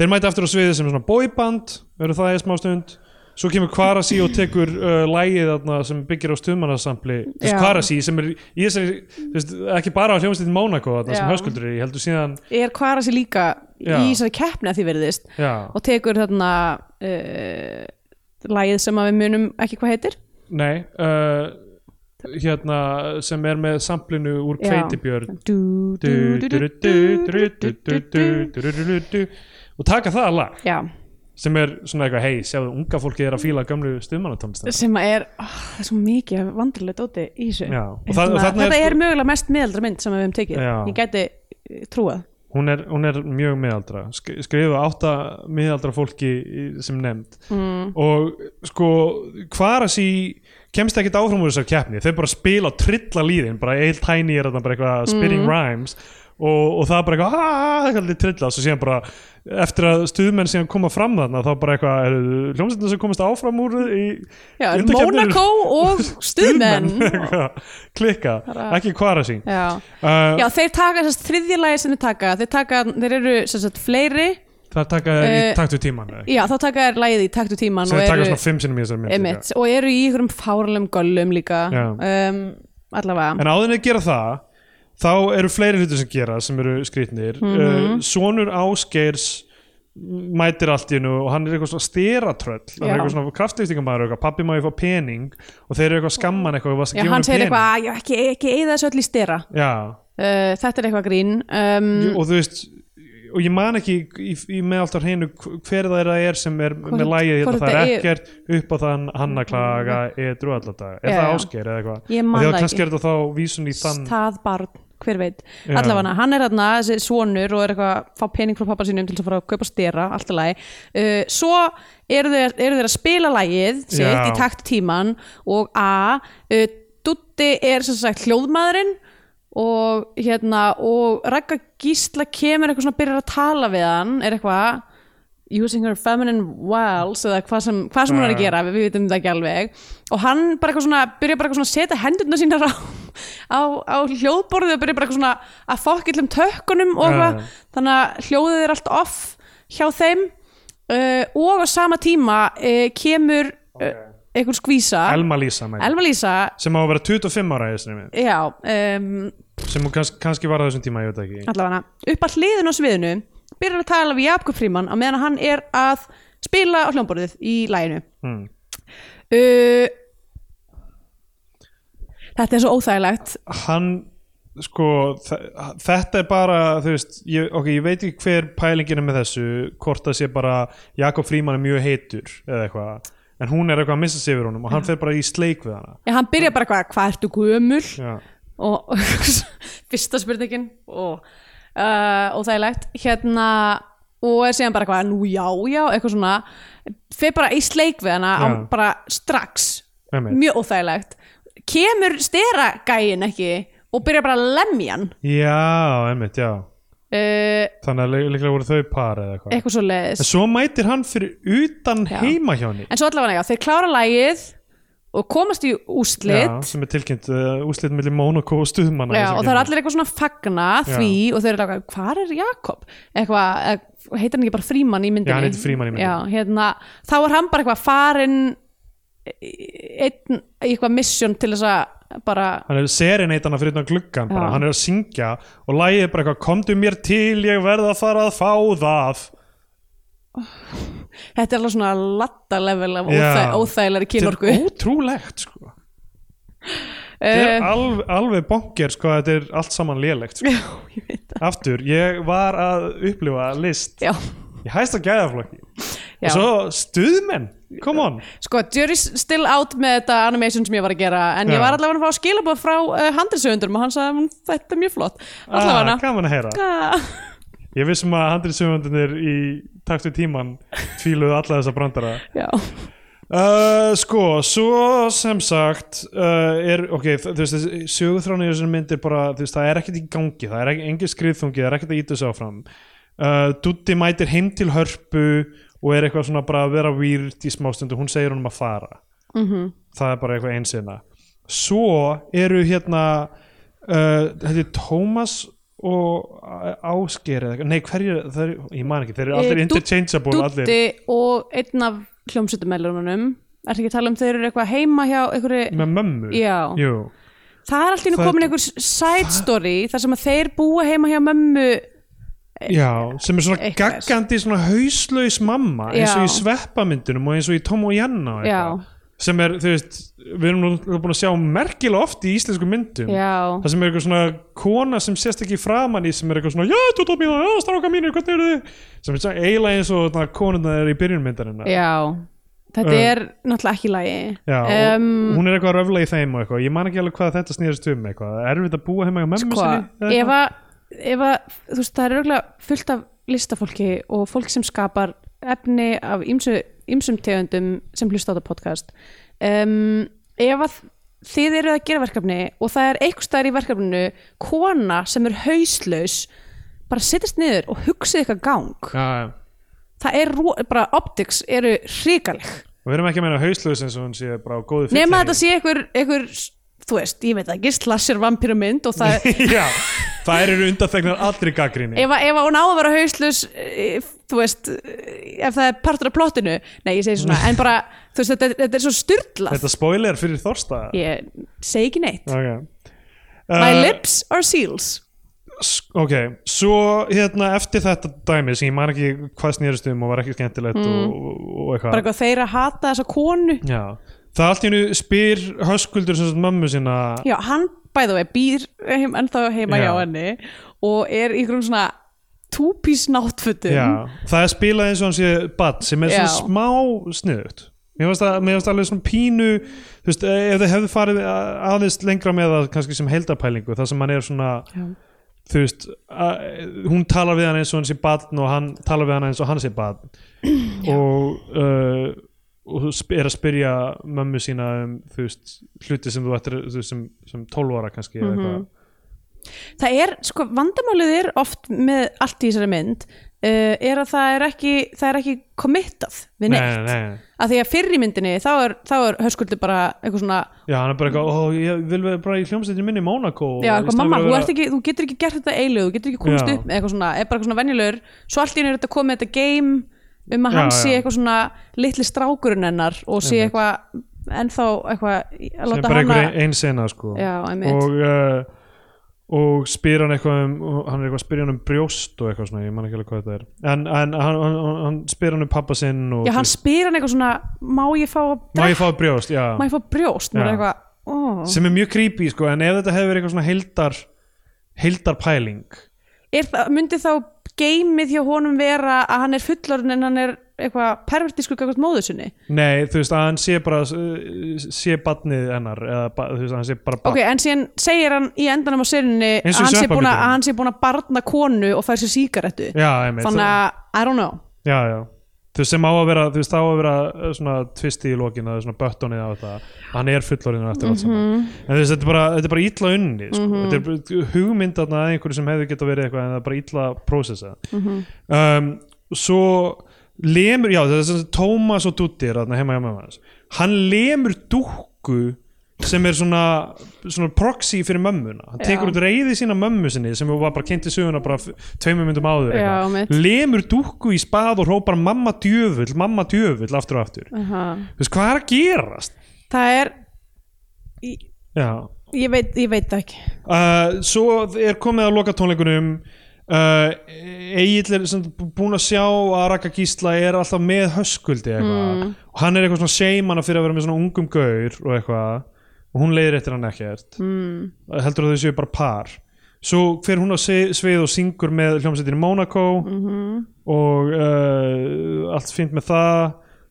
S2: þeir mæta aftur á sviði sem svona boyband verður það í smá stund svo kemur Kvarasi og tekur uh, lægið þarna sem byggir á stuðmannasampli Þú veist,
S3: Já.
S2: Kvarasi sem er, í þessari, þú veist, ekki bara á hljómsveitin Mónakó þarna sem
S3: Já.
S2: höskuldur er í, heldur síðan
S3: Er kvara sér líka
S2: Já.
S3: í þessari keppni að því verðist
S2: já,
S3: og tekur þarna uh, lagið sem að við munum ekki hvað heitir
S2: Nei uh, Hérna sem er með samplinu úr
S3: Já.
S2: Kveitibjörn
S3: Du, du, du, du, du, du, du, du, du.
S2: Og taka það lag
S3: Já,
S2: sem er svona eitthvað hei, sjáðu, unga fólkið er að fíla gamlu stuðmannatónlistina
S3: sem að er ó, það er svo mikið vandrulegt óti í þessu
S2: Já, og
S3: Hérna,
S2: það- og þarna er
S3: Þetta
S2: sko-
S3: er mögulega mest meðaldra mynd sem við hefum tekið
S2: Já.
S3: Ég gæti eh, trúað
S2: hún er, hún er mjög miðaldra Sk skrifa átta miðaldra fólki í- sem nefnd mm. og sko Kvarasi kemst ekkert áfram úr þessar keppni þau bara spila og trilla líðin bara eilt hæni er þetta bara
S3: Mm.
S2: eitthvað spinning rhymes og, og það er bara eitthvað "Ah", eitthvað lítið trilla svo síðan bara eftir að stuðmenn síðan koma fram þarna þá bara eitthvað hljómsveitin sem komast áfram úr í
S3: Já,
S2: í undankeppnir-
S3: Monaco
S2: <laughs>
S3: og stuðmenn
S2: Eitthvað, klikka,
S3: Bara-
S2: ekki Kvarasi
S3: Já,
S2: uh,
S3: Já, þeir taka þess að þriðja lagi sem þeir taka þeir, taka, þeir eru sem sagt fleiri
S2: það taka uh, í
S3: Eh,
S2: takt við tíman eða ekki?
S3: já, þá taka þeir lagið í taktu tíman
S2: sem
S3: og
S2: þið taka
S3: eru,
S2: svona fimm sinnum í þessari mynd líka.
S3: emitt, og eru í ykkurum fáralum göllum líka
S2: Já.
S3: um, allavega,
S2: en áður en að gera það þá eru fleiri hlutir sem gera sem eru skrýtnir mm
S3: Mhm.
S2: sonur Áskeirs mætir allt í hennu og hann er eitthvað svona steratröll hann er
S3: Já.
S2: eitthvað svona kraftlýstingamæður eitthvað pappi má ég fá pening og þeir eru eitthvað að skamma hann eitthvað og varst að
S3: já,
S2: gefa
S3: hann
S2: honum
S3: segir
S2: pening
S3: eitthvað já, ekki, ekki eða þessu öll í stera
S2: já,
S3: uh, þetta er eitthvað grín um,
S2: og þú veist og ég man ekki í, í meðaltar hreinu hver það er að er sem er
S3: Hvort-
S2: með lægið hérna,
S3: hvort
S2: það er
S3: þetta er- Mm.
S2: ekkert upp á þann hann að klaga edru allata, er
S3: Já,
S2: það
S3: já.
S2: Ásker eða eitthvað,
S3: Ég
S2: Af
S3: man
S2: því að
S3: það
S2: kannski
S3: ekki.
S2: er þetta þá vísun í þann
S3: það barn, hver veit
S2: Já.
S3: allavega, hann er þarna, þessi svonur og er eitthvað að fá pening frá pappa sínum til þess að fara að kaupa stera, allt í lagi uh, svo eru þeir, eru þeir að spila lagið sitt
S2: Já.
S3: í takt tíman og A uh, Dutti er sem sagt hljóðmaðurinn og hérna og Ragga Gísla kemur eitthvað svona byrjar að tala við hann er eitthvað using her feminine wiles eða hvað sem, hvað sem hún er að gera við, við vitum það ekki alveg og hann bara eitthvað svona, byrja bara eitthvað svona að setja hendurna sínar á, á, á hljóðborðið og byrja bara eitthvað svona að fokk illum tökkunum
S2: Já,
S3: og eitthvað
S2: já.
S3: þannig að hljóðið er allt off hjá þeim uh, og á sama tíma uh, kemur uh, einhver skvísa
S2: Elma Lísa mæti.
S3: Elva Lísa
S2: sem á að vera 25 ára í þessari mynd
S3: já, um,
S2: sem hún kannski, kannski var á þessum tíma, ég veit ekki
S3: allavega upp að hliðin á sviðinu byrjar að tala við Jakob Fríman á meðan hann er að spila á hljómborðið í læginu
S2: mm.
S3: uh, Þetta er svo óþægilegt
S2: hann sko, þe- þetta er bara þú veist, ég, ok, ég veit ekki hver pælingin er með þessu, hvort það sé bara Jakob Fríman er mjög heitur eða eitthvað, en hún er eitthvað að missa sig yfir honum og hann fer bara í sleik við hana
S3: Já, hann byrja bara hvað, hvað ertu gömul
S2: Já.
S3: og <laughs> fyrsta spurningin og uh, óþægilegt hérna og er síðan bara eitthvað, nú já, já, eitthvað svona fer bara í sleik við hana á,
S2: Já.
S3: bara strax,
S2: Einmitt.
S3: mjög óþægilegt kemur stera gæin ekki og byrja bara að lemja hann
S2: já, einmitt, já
S3: uh,
S2: þannig að lí- líklega voru þau par eða eitthvað
S3: eitthvað svo leiðis
S2: en svo mætir hann fyrir utan
S3: Já.
S2: heima hjá henni
S3: en svo allavega, já, þeir klára lægið og komast í úslit
S2: Já, sem er tilkynnt uh, úslit millir Mónakó og stuðmanna
S3: Já, og það er allir eitthvað svona að fagna
S2: Já.
S3: því og þau eru eitthvað, hvað er Jakob? Eitthvað, eh, heitir hann ekki bara Fríman í myndinni?
S2: Já, hann heitir Frímann í myndinni.
S3: Já, hérna, þá er hann bara eitthvað farin einn, í eitthvað mission til þess að bara,
S2: hann er sereneitan að fyrir utan gluggan bara,
S3: Já.
S2: hann er að syngja og lægið er bara eitthvað komdu mér til, ég verð að fara að fá það
S3: þetta er alveg svona latta level af
S2: Já.
S3: óþæ, óþægilegri kynorku.
S2: er ótrúlegt sko. þetta er
S3: Eh,
S2: alveg, alveg bonger sko, þetta er allt saman lélegt sko.
S3: <laughs> Já, ég veit það.
S2: aftur, ég var að upplifa list
S3: Já,
S2: í hæsta gæðaflokki
S3: já.
S2: og svo stuðmenn, come on
S3: Sko, jury's still out með þetta animation sem ég var að gera en
S2: Já.
S3: ég var allavega að fá skilabóð frá uh, handriðsöfundurum og hann sagði, "Mm, þetta er mjög flott. Allavega
S2: ah, gaman að heyra
S3: Ah.
S2: ég vissum að handrið sögundunir í takt við tíman tvíluðu alla þessa brandara
S3: Já,
S2: Uh, sko, svo sem sagt uh, er, ok, þ- þú veist þessi söguthrán í þessum mynd er bara, þú veist, það er ekkert í gangi, það er ekki, engin skriðþungi, það er ekkert að íta þessu áfram uh, Dutti mætir heim til hörpu og er eitthvað svona bara að vera výrt í smástundu, hún segir honum að fara
S3: Mhm.
S2: -hmm. það er bara eitthvað einsina svo eru hérna uh, þetta er Tómas og Ásker eða eitthvað, nei hverju, það er, ég man ekki þeir eru allir
S3: Eh, Dú-
S2: interchangeable, allir
S3: Dúddi og einn af hljómsveitumellunum Er ekki að tala um þeir eru eitthvað heima hjá einhverju
S2: með mömmu,
S3: Já.
S2: jú
S3: Það er alltaf
S2: Það-
S3: komin einhver side story Þar sem að þeir búa heima hjá mömmu
S2: Já, sem er svona
S3: Eitthvað.
S2: gaggandi svona hauslaus mamma eins og
S3: Já.
S2: í sveppamyndunum og eins og í Tom og Janna og
S3: Já.
S2: eitthvað. sem er, þú veist, við erum nú búin að sjá merkilega oft í íslensku myndum
S3: Já.
S2: það sem er eitthvað svona kona sem sést ekki framan í sem er eitthvað svona, já, þú tók mín og já, stráka mínir, hvernig eru þið sem er svona eiginlega eins og konuna er í byrjunmyndarina
S3: Já, þetta
S2: Um,
S3: er náttúrulega ekki lægi
S2: Já,
S3: um,
S2: og hún er eitthvað að röfla í þeim og eitthvað, ég man ekki alveg hvað þetta snýðast um eitthvað, erfitt að búa heima hjá mömmu
S3: sko,
S2: sinni eða
S3: ef að, ef að þú veist, það er auðvitað fullt af listafólki og fólk sem skapar efni af ýmsu, ýmsum tegundum sem hlusta á þetta podcast um, ef að þið eru að gera verkefni og það er einhvers staðar í verkefninu kona sem er hauslaus bara sittist niður og hugsið eitthvað gang
S2: eitthvað. Já, já.
S3: það er ro- bara optics eru hrikaleg
S2: og við erum ekki að meina hauslaus eins og hún sé bara á góðu
S3: nema
S2: fylliríi.
S3: þetta sé einhver, einhver þú veist, ég veit það ekki, slasher vampírumynd og
S2: <laughs>
S3: það,
S2: Já, það eru undanþegnar allri gaggrinni
S3: ef, að- ef að hún á að vera hauslus þú veist, eh, ef það er partur af plottinu, nei ég segi svona en bara, þú veist, þetta, þetta er svo styrlað
S2: Þetta spoiler fyrir Þorsta
S3: ég segi ekki neitt
S2: okay.
S3: my
S2: Uh,
S3: lips are seals
S2: s- Ok, svo hérna eftir þetta dæmi sem ég man ekki hvað snýrist um og var ekki skemmtilegt og, og
S3: Mm. bara
S2: eitthvað
S3: eitthvað þeir að hata þessa konu
S2: Já, það allt í hennu spyr höskuldur sem sagt mömmu sína
S3: já, hann bæði og býr heim, ennþá heima
S2: Já.
S3: hjá henni og er í einhverjum svona túpís náttfutum
S2: Já, það er spilað eins og hann sé bad sem er
S3: Já.
S2: svona smá sniðut Mér finnst það, mér finnst alveg svona pínu þú veist, eh, ef þið hefðu farið a- aðeins lengra með það kannski sem heldapælingu þar sem hann er svona
S3: Já.
S2: þú veist, að, hún talar við hann eins og hann sé barn og hann talar við hann eins og hann sé barn og uh, og þú sp- er að spyrja mömmu sína um þú veist, hluti sem þú ættir þú veist, sem, sem 12 ára kannski
S3: Mhm.
S2: mm -hmm.
S3: það er, sko, vandamálið er oft með allt í þessari mynd uh, er að það er ekki, það er ekki committað við neitt
S2: nei, nei.
S3: að því að fyrr í myndinni þá er, þá er höskuldur bara eitthvað svona
S2: Já, hann er bara eitthvað, ó, ég vil vera bara í hljómsveitinu minni í Mónakó og
S3: já,
S2: í
S3: eitthvað,
S2: staðinn
S3: mamma,
S2: fyrir að
S3: þú,
S2: vera-
S3: ert ekki, þú getur ekki gert þetta eilu þú getur ekki komast
S2: Já.
S3: upp með eitthvað svona er bara eitthvað svona venjulegur svo allt í einu er þetta komið þetta game um að
S2: Já,
S3: hann
S2: já.
S3: sé eitthvað svona litli strákurinn hennar og sé
S2: Einmitt.
S3: eitthvað ennþá eitthvað í- að
S2: sem er
S3: láta
S2: bara
S3: hana
S2: einhver ein sena sko.
S3: já, einmitt
S2: og uh, og spyr hann eitthvað um og hann er eitthvað að spyrja hann um brjóst og eitthvað svona ég man ekki alveg hvað þetta er en, en hann, hann, hann- hann spyr hann um pappa sinn og
S3: já, hann spyr hann eitthvað svona má ég fá, að
S2: má
S3: drekka-
S2: ég fá brjóst, já,
S3: má ég fá brjóst
S2: Já.
S3: maður er eitthvað, ó.
S2: sem er mjög creepy sko, en ef þetta hefur verið eitthvað svona heildar heildar pæling
S3: er það, myndi þá geimið hjá honum vera að hann er fullorinn en hann er eitthvað pervertískur gagvart móður sinni
S2: nei, þú veist, að hann sé bara uh, sé badnið hennar eða ba- þú veist, að hann sé bara
S3: ok,
S2: badn
S3: en síðan segir hann í endanum á serinni
S2: Eins
S3: að
S2: og í
S3: hann, sé búin að,
S2: sveppamyndinni.
S3: að hann sé búin að barna konu og fær sér sígarettu
S2: já, einmitt,
S3: þannig
S2: það-
S3: að, I don't know
S2: já, já þú veist, sem á að vera, þú veist, það á að vera uh, svona tvisti í lokin, það er svona böttonið á þetta hann er fullorðinu eftir allt saman en þú veist, þetta er bara, þetta er bara illa unni sko. þetta er hugmyndarna að einhverju sem hefði geta verið eitthvað en það er bara illa prósessa um, svo lemur, já, þetta er svona Tómas og Dutti er þarna heima hjá mamma hans hann lemur dúkku sem er svona, svona proxy fyrir mömmuna, hann tekur
S3: Já.
S2: út reyði sína mömmu sinni sem var bara kynnt í söguna bara f- tveimur myndum áður
S3: Já,
S2: eitthvað.
S3: mitt.
S2: lemur dúkku í spað og hrópar mamma djöfull, mamma djöfull aftur og aftur þú veist hvað er að gerast
S3: það er ég,
S2: já,
S3: ég veit, ég veit það ekki
S2: Uh, svo er komið að loka tónleikunum uh, Egil er sem, búin að sjá að Raka Gísla er alltaf með höskuldi eitthvað
S3: Mm.
S2: og hann er eitthvað svona seimana fyrir að vera með svona ungum gaur og eitthvað og hún leiðir eftir hann ekkert mm. heldur að þau séu bara par svo fer hún á svi- svið og syngur með hljómsveitinu Monaco
S3: Mhm.
S2: og uh, allt fínt með það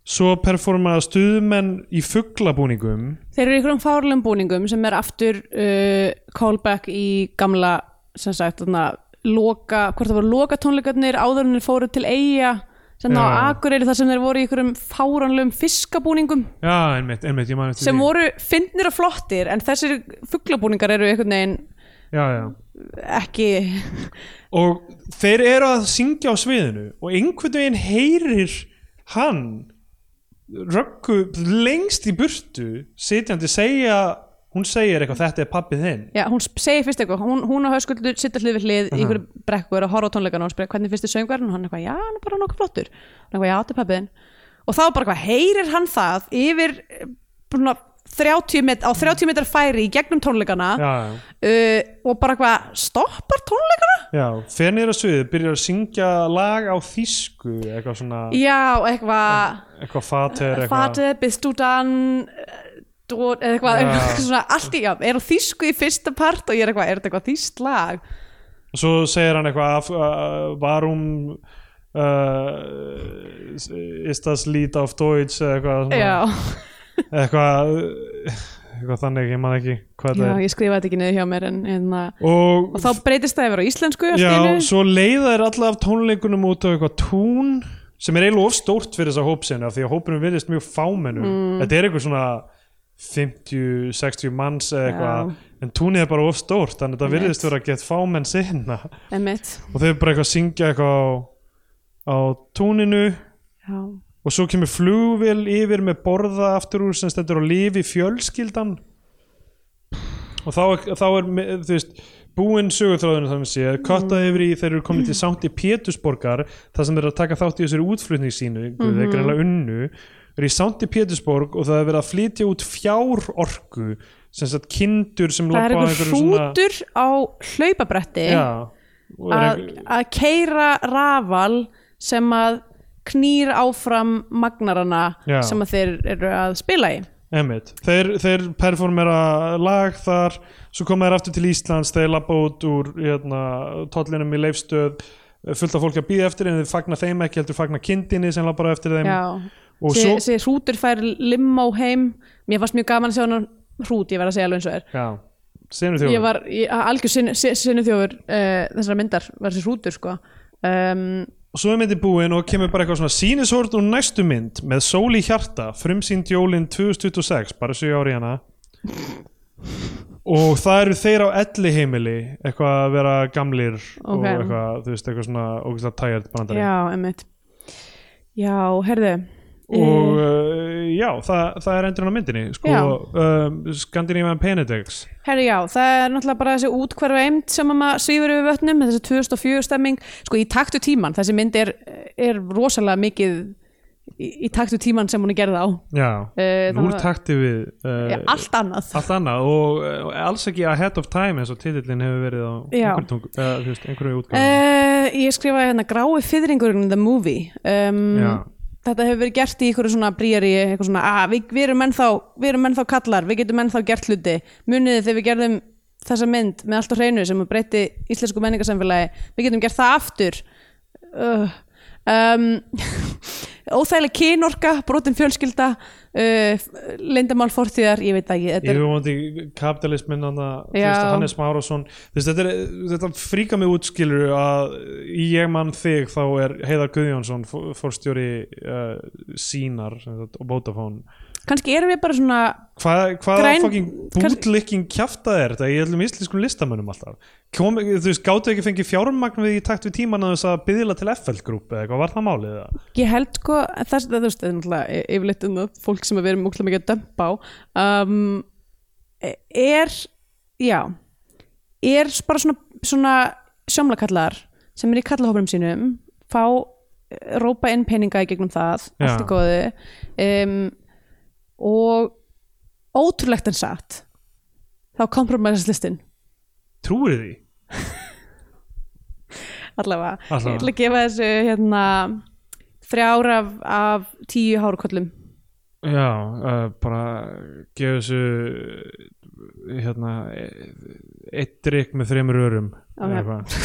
S2: svo performa stuðmenn í fuglabúningum
S3: þeir eru í einhverjum fárlegum búningum sem er aftur uh, callback í gamla sem sagt, þarna, loka, hvort það voru loka tónleikarnir áðurinnir fóru til eiga sem þá
S2: Já.
S3: akureyri þar sem þeir voru í einhverjum fáranlegum fiskabúningum
S2: já, einmitt, einmitt, ég man eftir
S3: sem
S2: því.
S3: voru fyndnir og flottir en þessir fugglabúningar eru einhvern veginn
S2: já, já.
S3: ekki
S2: og þeir eru að syngja á sviðinu og einhvern veginn heyrir hann röggu lengst í burtu sitjandi segja hún segir eitthvað þetta er pappið þinn
S3: já, hún sp- segir fyrst eitthvað, hún, hún og höskuldur sittar hlið við hlið í einhverju brekku er að horfa á tónleikana og hún spyrir hvernig finnst þið söngverðin og hann er eitthvað, já, hann er bara nokkuð flottur hann er eitthvað, já, þetta er pappiðin og þá bara hvað, heyrir hann það yfir eh, svona, 30 met, á 30 metrar færi í gegnum tónleikana
S2: já, já.
S3: uh, og bara hvað, stoppar tónleikana?
S2: Já, fer niður að sviðið, byrjar að syngja lag á þýsku, eitthvað svona,
S3: Já, eitthvað
S2: eitthvað fater, eitthvað,
S3: Fate, Bistudan Dór, eða eh, eitthvað,
S2: Já.
S3: eitthvað svona, allt í, já, er á þýsku í fyrsta part og ég er eitthvað, er þetta eitthvað þýst lag?
S2: svo segir hann eitthvað, af, uh, varum, uh, ist das Lied auf Deutsch, eða eitthvað, svona,
S3: Já,
S2: eitthvað, eitthvað þannig, ég man ekki hvað
S3: já,
S2: þetta er.
S3: ég skrifaði þetta ekki niður hjá mér en, en að,
S2: Og,
S3: og þá breytist það yfir á íslensku allt í
S2: já,
S3: einu.
S2: svo leiða er alla af tónleikunum út á eitthvað tún, sem er eiginlega ofstórt fyrir þessa hópsinu, af því að hópurinn virðist mjög fámennu.
S3: Mm.
S2: Þetta er eitthvað svona 50-60 manns eða eitthvað,
S3: Já.
S2: en túnið er bara of stórt þannig að þetta virðist vera að geta fámenn sinna og
S3: Einmitt.
S2: þau eru bara eitthvað að syngja eitthvað á, á túninu
S3: já,
S2: og svo kemur flugvél yfir með borða aftur úr sem stendur á lifi fjölskyldan og þá, er- þá er me- þú veist búinn sögurþráðunum þannig sé
S3: Mm.
S2: kottað yfir í þeir eru komin til samt í Pétursborgar þar sem þeir eru að taka þátt í þessari útflutning sínu mm
S3: Mhm.
S2: þeir greinlega unnu eru í samt í Pétursborg og það er verið að flytja út fjár orku sem sagt kindur sem
S3: það er
S2: labba á
S3: einhver
S2: einhverju svona-
S3: hrútur á hlaupabretti
S2: Já, og er
S3: að,
S2: einhver-
S3: að keira rafal sem að knýr áfram magnarana
S2: Já.
S3: sem að þeir eru að spila í
S2: Einmitt. Þeir, þeir performera lag þar, svo koma þeir aftur til Íslands, þeir labba út úr hérna, tóllinum í leifstöð, fullt af fólki að býða eftir en þeir fagna þeim ekki, heldur fagna kindinni sem labbar á eftir þeim.
S3: Já,
S2: Og
S3: þessi
S2: svo-
S3: svo... hrútur fær limmó heim mér fannst mjög gaman að sjá hann hrút, ég verð að segja alveg eins og er
S2: Já. Senur þjóður.
S3: ég var ég- algjör sinni, sinni þjófur uh, þessar myndar, var þessi hrútur sko um,
S2: Og svo er myndi búin og kemur bara eitthvað svona sínishort og næstu mynd með sól í hjarta, frumsýnd jólin 2026, bara 7 ári hana. og það eru þeir á elli heimili, eitthvað að vera gamlir og
S3: Ok.
S2: eitthvað, þú veist, eitthvað svona ógæslega tægjart brandari.
S3: já, emmitt já, herðu
S2: og uh, já, það, það er endurinn á myndinni sko,
S3: Eh. Já.
S2: um, Scandinavian Penedex
S3: Herri Eh, já, það er náttúrulega bara þessi útkvarfa eimt sem að maður svífur yfir vötnum þessi 2004 stemming, sko í taktu tíman þessi mynd er, er rosalega mikið í, í taktu tíman sem hún er gerð á
S2: já,
S3: Eh,
S2: nú
S3: þannig
S2: er
S3: að-
S2: takti við uh,
S3: uh, allt annað
S2: allt annað og uh, alls ekki ahead of time eins og titillin hefur verið á
S3: Já.
S2: einhverju, tungu, uh, veist, einhverju útgáð
S3: uh, Ég skrifaði hérna grái fyrringurinn the movie
S2: Já.
S3: um, Þetta hefur verið gert í einhverju svona brýjari eitthvað svona, að við, við, erum ennþá, við erum ennþá kallar, við getum ennþá gert hluti muniði þegar við gerðum þessa mynd með allt á hreinu sem breytti íslensku menningarsamfélagi, við getum gert það aftur uh, um, <laughs> Óþægileg kynorka brotin fjölskylda uh, leyndamál fortíðar, ég veit það ekki þetta er-
S2: yfirvonandi kapitalismin hann að
S3: Já.
S2: Hannes Márásson þú veist, þetta, er, þetta fríka mig útskilur að í ég mann þig þá er Heiðar Guðjónsson fó- fórstjóri uh, sínar sem sagt, og Bótafón
S3: kannski erum við bara svona
S2: Hva, hvaða Græn,
S3: Græn-
S2: fucking bútlikking kjafta er þetta í öllum íslenskum listamönnum alltaf Kom, þú veist, gáttu ekki fengið fjármagn við í takt við tíman að þess að byðla til FL grúpu eða eitthvað, var það málið það?
S3: Ég held sko, það, það, það, það er náttúrulega y- yfirleitt um það, fólk sem við erum útla mikið að dömpa á um, e, er, já er bara svona, svona sjómlakallar sem er í kallahófrum sínum fá eh, rópa inn peninga í gegnum það,
S2: Já.
S3: allt í góðu um, og ótrúlegt en satt þá kompromisast listin
S2: Trúir því?
S3: allavega,
S2: Allavega.
S3: ég ætla að gefa þessu hérna þrjár af, af tíu hárkollum
S2: Já, uh, bara gefa þessu hérna eitt drikk með þremur örum
S3: Ok.
S2: eða eitthvað.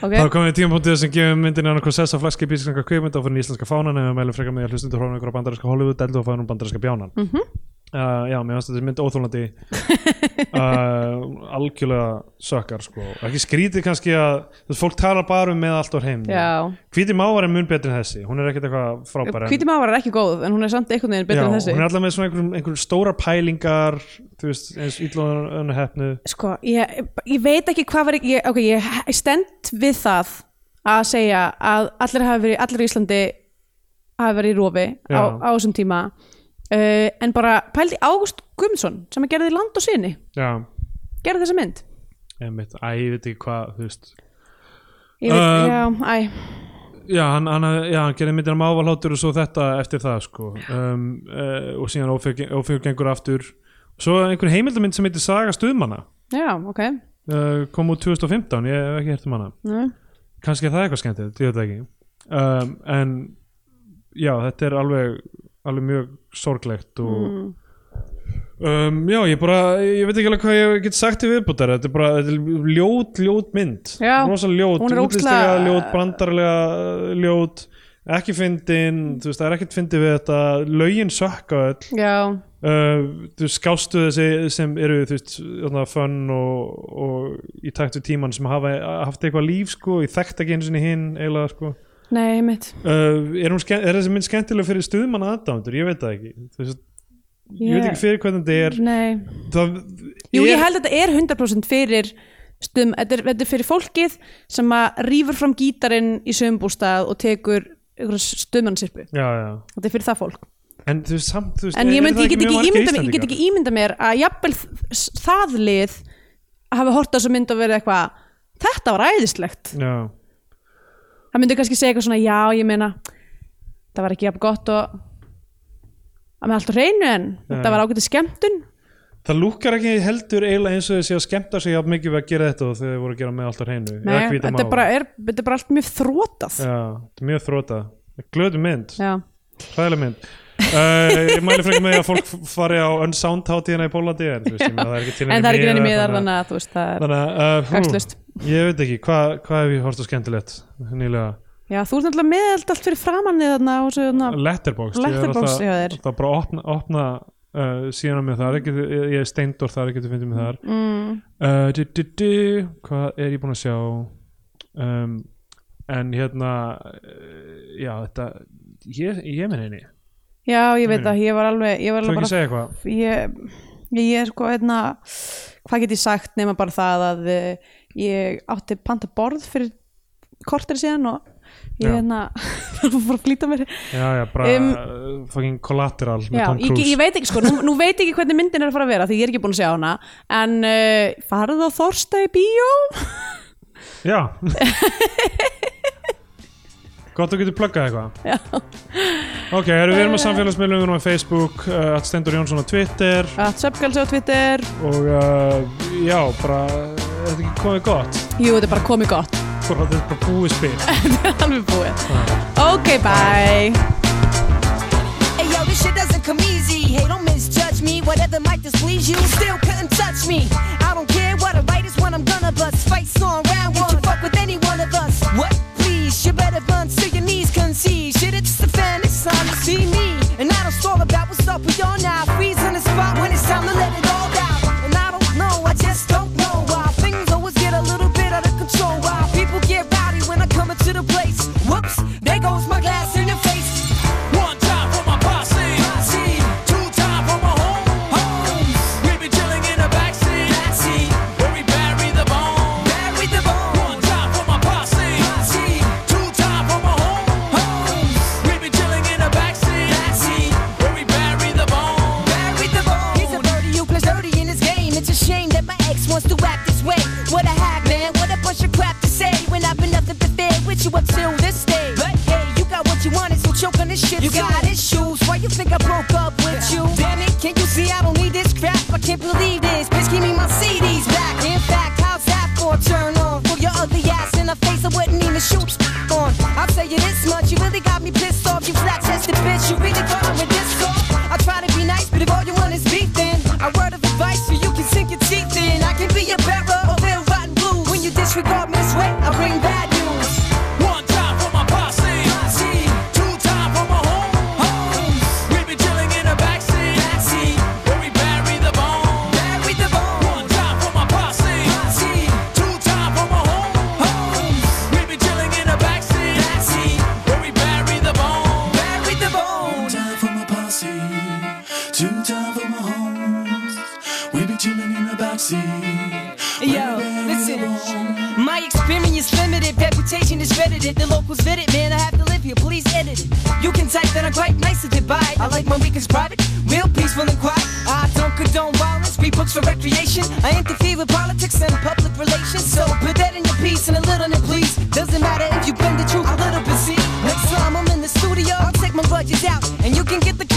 S3: Ok,
S2: Þá komum við tímapunktið sem gefum myndinni annað sessa flagskip íslenska kveikmynd á fyrir íslenska fánan en við mælum frekar með að hlustum til hrónum ykkur á bandarinska Hollywood deldu og fánan bandarinska bjánan mm
S3: Mhm.
S2: Já, mér finnst þetta mynd
S3: <laughs>
S2: óþólandi uh, algjörlega sökkar sko, ekki skrítið kannski að þú veist, fólk talar bara um með allt og heim
S3: Já.
S2: Hvíti mávar er mun betri en þessi hún er ekkert eitthvað frábæra
S3: Hvíti mávar er ekki góð en hún er samt einhvern veginn betri en þessi
S2: hún er alltaf með svona einhverjum, einhverjum stóra pælingar þú veist, eins ítlóðan hefnu
S3: Sko, ég, ég veit ekki hvað var ég, ok, ég, ég stend við það að segja að allir hafi verið, allir í Íslandi hafi verið í rofi á,
S2: Já.
S3: á þessum tíma uh, en bara pældi Ágúst Guðmundsson sem að gerði land og sinni
S2: Já,
S3: gerði þessa mynd
S2: einmitt, æ, ég veit ekki hvað þú veist
S3: ég, veit,
S2: Um,
S3: Já, æ,
S2: já, hann, hann, já, hann gerði myndina um ávalhátur og svo þetta eftir það sko. um, uh, og síðan ófjögur gengur aftur svo einhver heimildamind sem heitir Saga stuðmanna
S3: já, ok
S2: uh, kom úr 2015, ég hef ekki hert um hana
S3: Nei.
S2: kannski er það eitthvað skemmtilegt, ég veit það ekki um, en já, þetta er alveg, alveg mjög sorglegt og
S3: Mm.
S2: um, já, ég bara, ég veit ekki alveg hvað ég get sagt í viðbútar, þetta er bara þetta er ljót, ljót mynd,
S3: Já,
S2: rosa ljót
S3: hún er
S2: útlistlega
S3: ógeðslega-
S2: ljót, brandarlega ljót ekki fyndin, þú veist, það er ekkert fyndið við þetta, lögin sökka öll
S3: já,
S2: uh, þú veist, skástu þessi sem eru þú veist, þarna, fönn og, og í takt við tímann sem hafa haft eitthvað líf sko, ég þekkt ekki einu sinni hinn eiginlega sko
S3: nei, mitt
S2: uh, er, hún, ske- er þessi mynd skemmtilega fyrir stuðmann aðdámdur, ég veit það ekki þú veist, ég veit ekki fyrir hvernig þetta er
S3: nei.
S2: það
S3: Jú, ég
S2: er
S3: held að þetta er 100% fyrir stum, þetta er, þetta er fyrir fólkið sem að rýfur fram gítarinn í sömbústað og tekur stumansirpu,
S2: já, já.
S3: þetta er fyrir það fólk
S2: en þú veist, samt þú veist, er-
S3: en ég,
S2: Eh, eru
S3: myndi,
S2: það
S3: ég, get
S2: mjög
S3: ekki
S2: margir
S3: ímynda, mér- ég get
S2: Íslendingar?
S3: ekki ímynda mér að jafnvel þ- það lið hafi hort á þessu mynd og verið eitthvað þetta var æðislegt
S2: já,
S3: það myndi kannski segja eitthvað svona já ég meina það var ekki jafn gott og að með allt á reynu en þetta var ágætið skemmtun
S2: það lúkar ekki heldur eiginlega eins og þessi að skemmta sig jafn mikið við að gera þetta og þegar þeir voru að gera með alltaf hreinu
S3: Nei, þetta, er bara, er, þetta er bara allt mjög þrótað
S2: já, þetta er mjög þróta glöðu mynd
S3: já.
S2: Hræðileg mynd uh, Ég mæli frekar með því að fólk fari á Unsound hátíðina í Pólandi en, þú veist, ég meina, það er ekki til
S3: en það er ekki
S2: miðar,
S3: neina miðar
S2: þannig að-
S3: þannig að þú veist það er
S2: Þannig að uh,
S3: Gagnslaust.
S2: hú, Ég veit ekki, hvað hva hef ég hort á skemmtilegt nýlega
S3: já, þú ert náttúrulega með allt- allt fyrir framanni þarna og svo þarna
S2: Letterboxd, ég
S3: Letterboxd hjá
S2: er
S3: þér.
S2: alltaf, alltaf bara að opna, opna uh, síðan á mig þar, ekki, ég, ég er steindor þar, ekki þú finnir mig þar
S3: mm,
S2: uh, du, du, du, Hvað er ég búinn að sjá um, En hérna uh, Já, þetta Ég, ég minn henni,
S3: já ég veit það, ég var alveg ég var
S2: þú
S3: alveg
S2: Mm. ekki
S3: bara
S2: segja eitthvað
S3: ég, ég er sko einna, hvað get ég sagt nema bara það að eh, ég átti panta borð fyrir kortir síðan og ég
S2: Já.
S3: einna, <laughs> fór að flýta mér
S2: Já, já, bara
S3: Um,
S2: um, fucking collateral með
S3: Já,
S2: Tom
S3: ég,
S2: Cruise
S3: ég veit ekki sko, nú, nú veit ég ekki hvernig myndin er að fara að vera því ég er ekki búin að sjá hana en uh, farðu á Þorsta í bíó <laughs>
S2: Já Gott að getur pluggað eitthvað
S3: Já. Uh,
S2: Ok, erum við erum að samfélagsmiðlum við erum á Facebook, uh, at Stendur Jónsson á Twitter
S3: að söpgalsi á Twitter
S2: og uh, já, bara er þetta ekki komið gott
S3: Jú, þetta er bara komið gott
S2: bara þetta er bara búið spil
S3: <laughs> alveg búið Ok, bye
S4: Hey yo, this shit doesn't come easy. Hey, don't misjudge me. Whatever might displease you, still couldn't touch me. I don't care what I write is when I'm gonna bust. Fights on round one. You fuck with any one of us. What? Please, you better run to your knees, concede. Shit, it's the fan. It's time to see me. And I don't stall about what's up with y'all now. Freeze on the spot when it's time to let it all out. And I don't know, I just don't know why things always get a little bit out of control. Why people get rowdy when I come into the place. Whoops, there goes my glass in the face.
S5: One time for my posse,
S4: Posse.
S5: two time for my home.
S4: Homes.
S5: We be chilling in the backseat,
S4: Backseat.
S5: where we bury the bone.
S4: Bury the bone.
S5: One time for my posse,
S4: Posse.
S5: two time for my home.
S4: Homes.
S5: We be chilling in the backseat, where we bury the bone.
S4: Bury the bone. He's a birdie who plays dirty in his game. It's a shame that my ex wants to act this way. What a hack, man. What a bunch of crap to say. When I've been nothing but fair with you up till this day. But hey, you got what you wanted, so choke on this shit. You got issues. Why you think I broke up with you? Damn it, can't you see I don't need this crap? I can't believe this. Bitch, give me my CDs back. In fact, how's that for a turn on? For your ugly ass in the face, I wouldn't even shoot on. I'll tell you this much, you really got me pissed off. You flat chested bitch, you really thought I would this off. I try to be nice, but if all you want is beef, then a word of advice so you can sink your teeth in. I can be a bearer of ill rotten blues. When you disregard me this way, I bring bad news.
S5: One time for my posse,
S4: Posse,
S5: two time for my home.
S4: homes,
S5: We be chilling in the backseat, where we bury the bone.
S4: bury the bone.
S5: One time for my posse.
S4: Posse,
S5: Two time for my home.
S4: homes,
S5: We be chilling in the backseat, where we bury the bone.
S4: bury the bone.
S6: One time for my posse, two time for my homes. We be chilling in the backseat.
S4: Yo, listen. My experience limited, reputation is credited. The locals vet it, man. I have to live here. Please edit it. You can type that I'm quite nice to divide. I like my weekends private, real peaceful and quiet. I don't condone violence, read books for recreation. I interfere with politics and public relations. So put that in your piece and a little in it, please. Doesn't matter if you bend the truth a little bit, see. pages out, and you can get the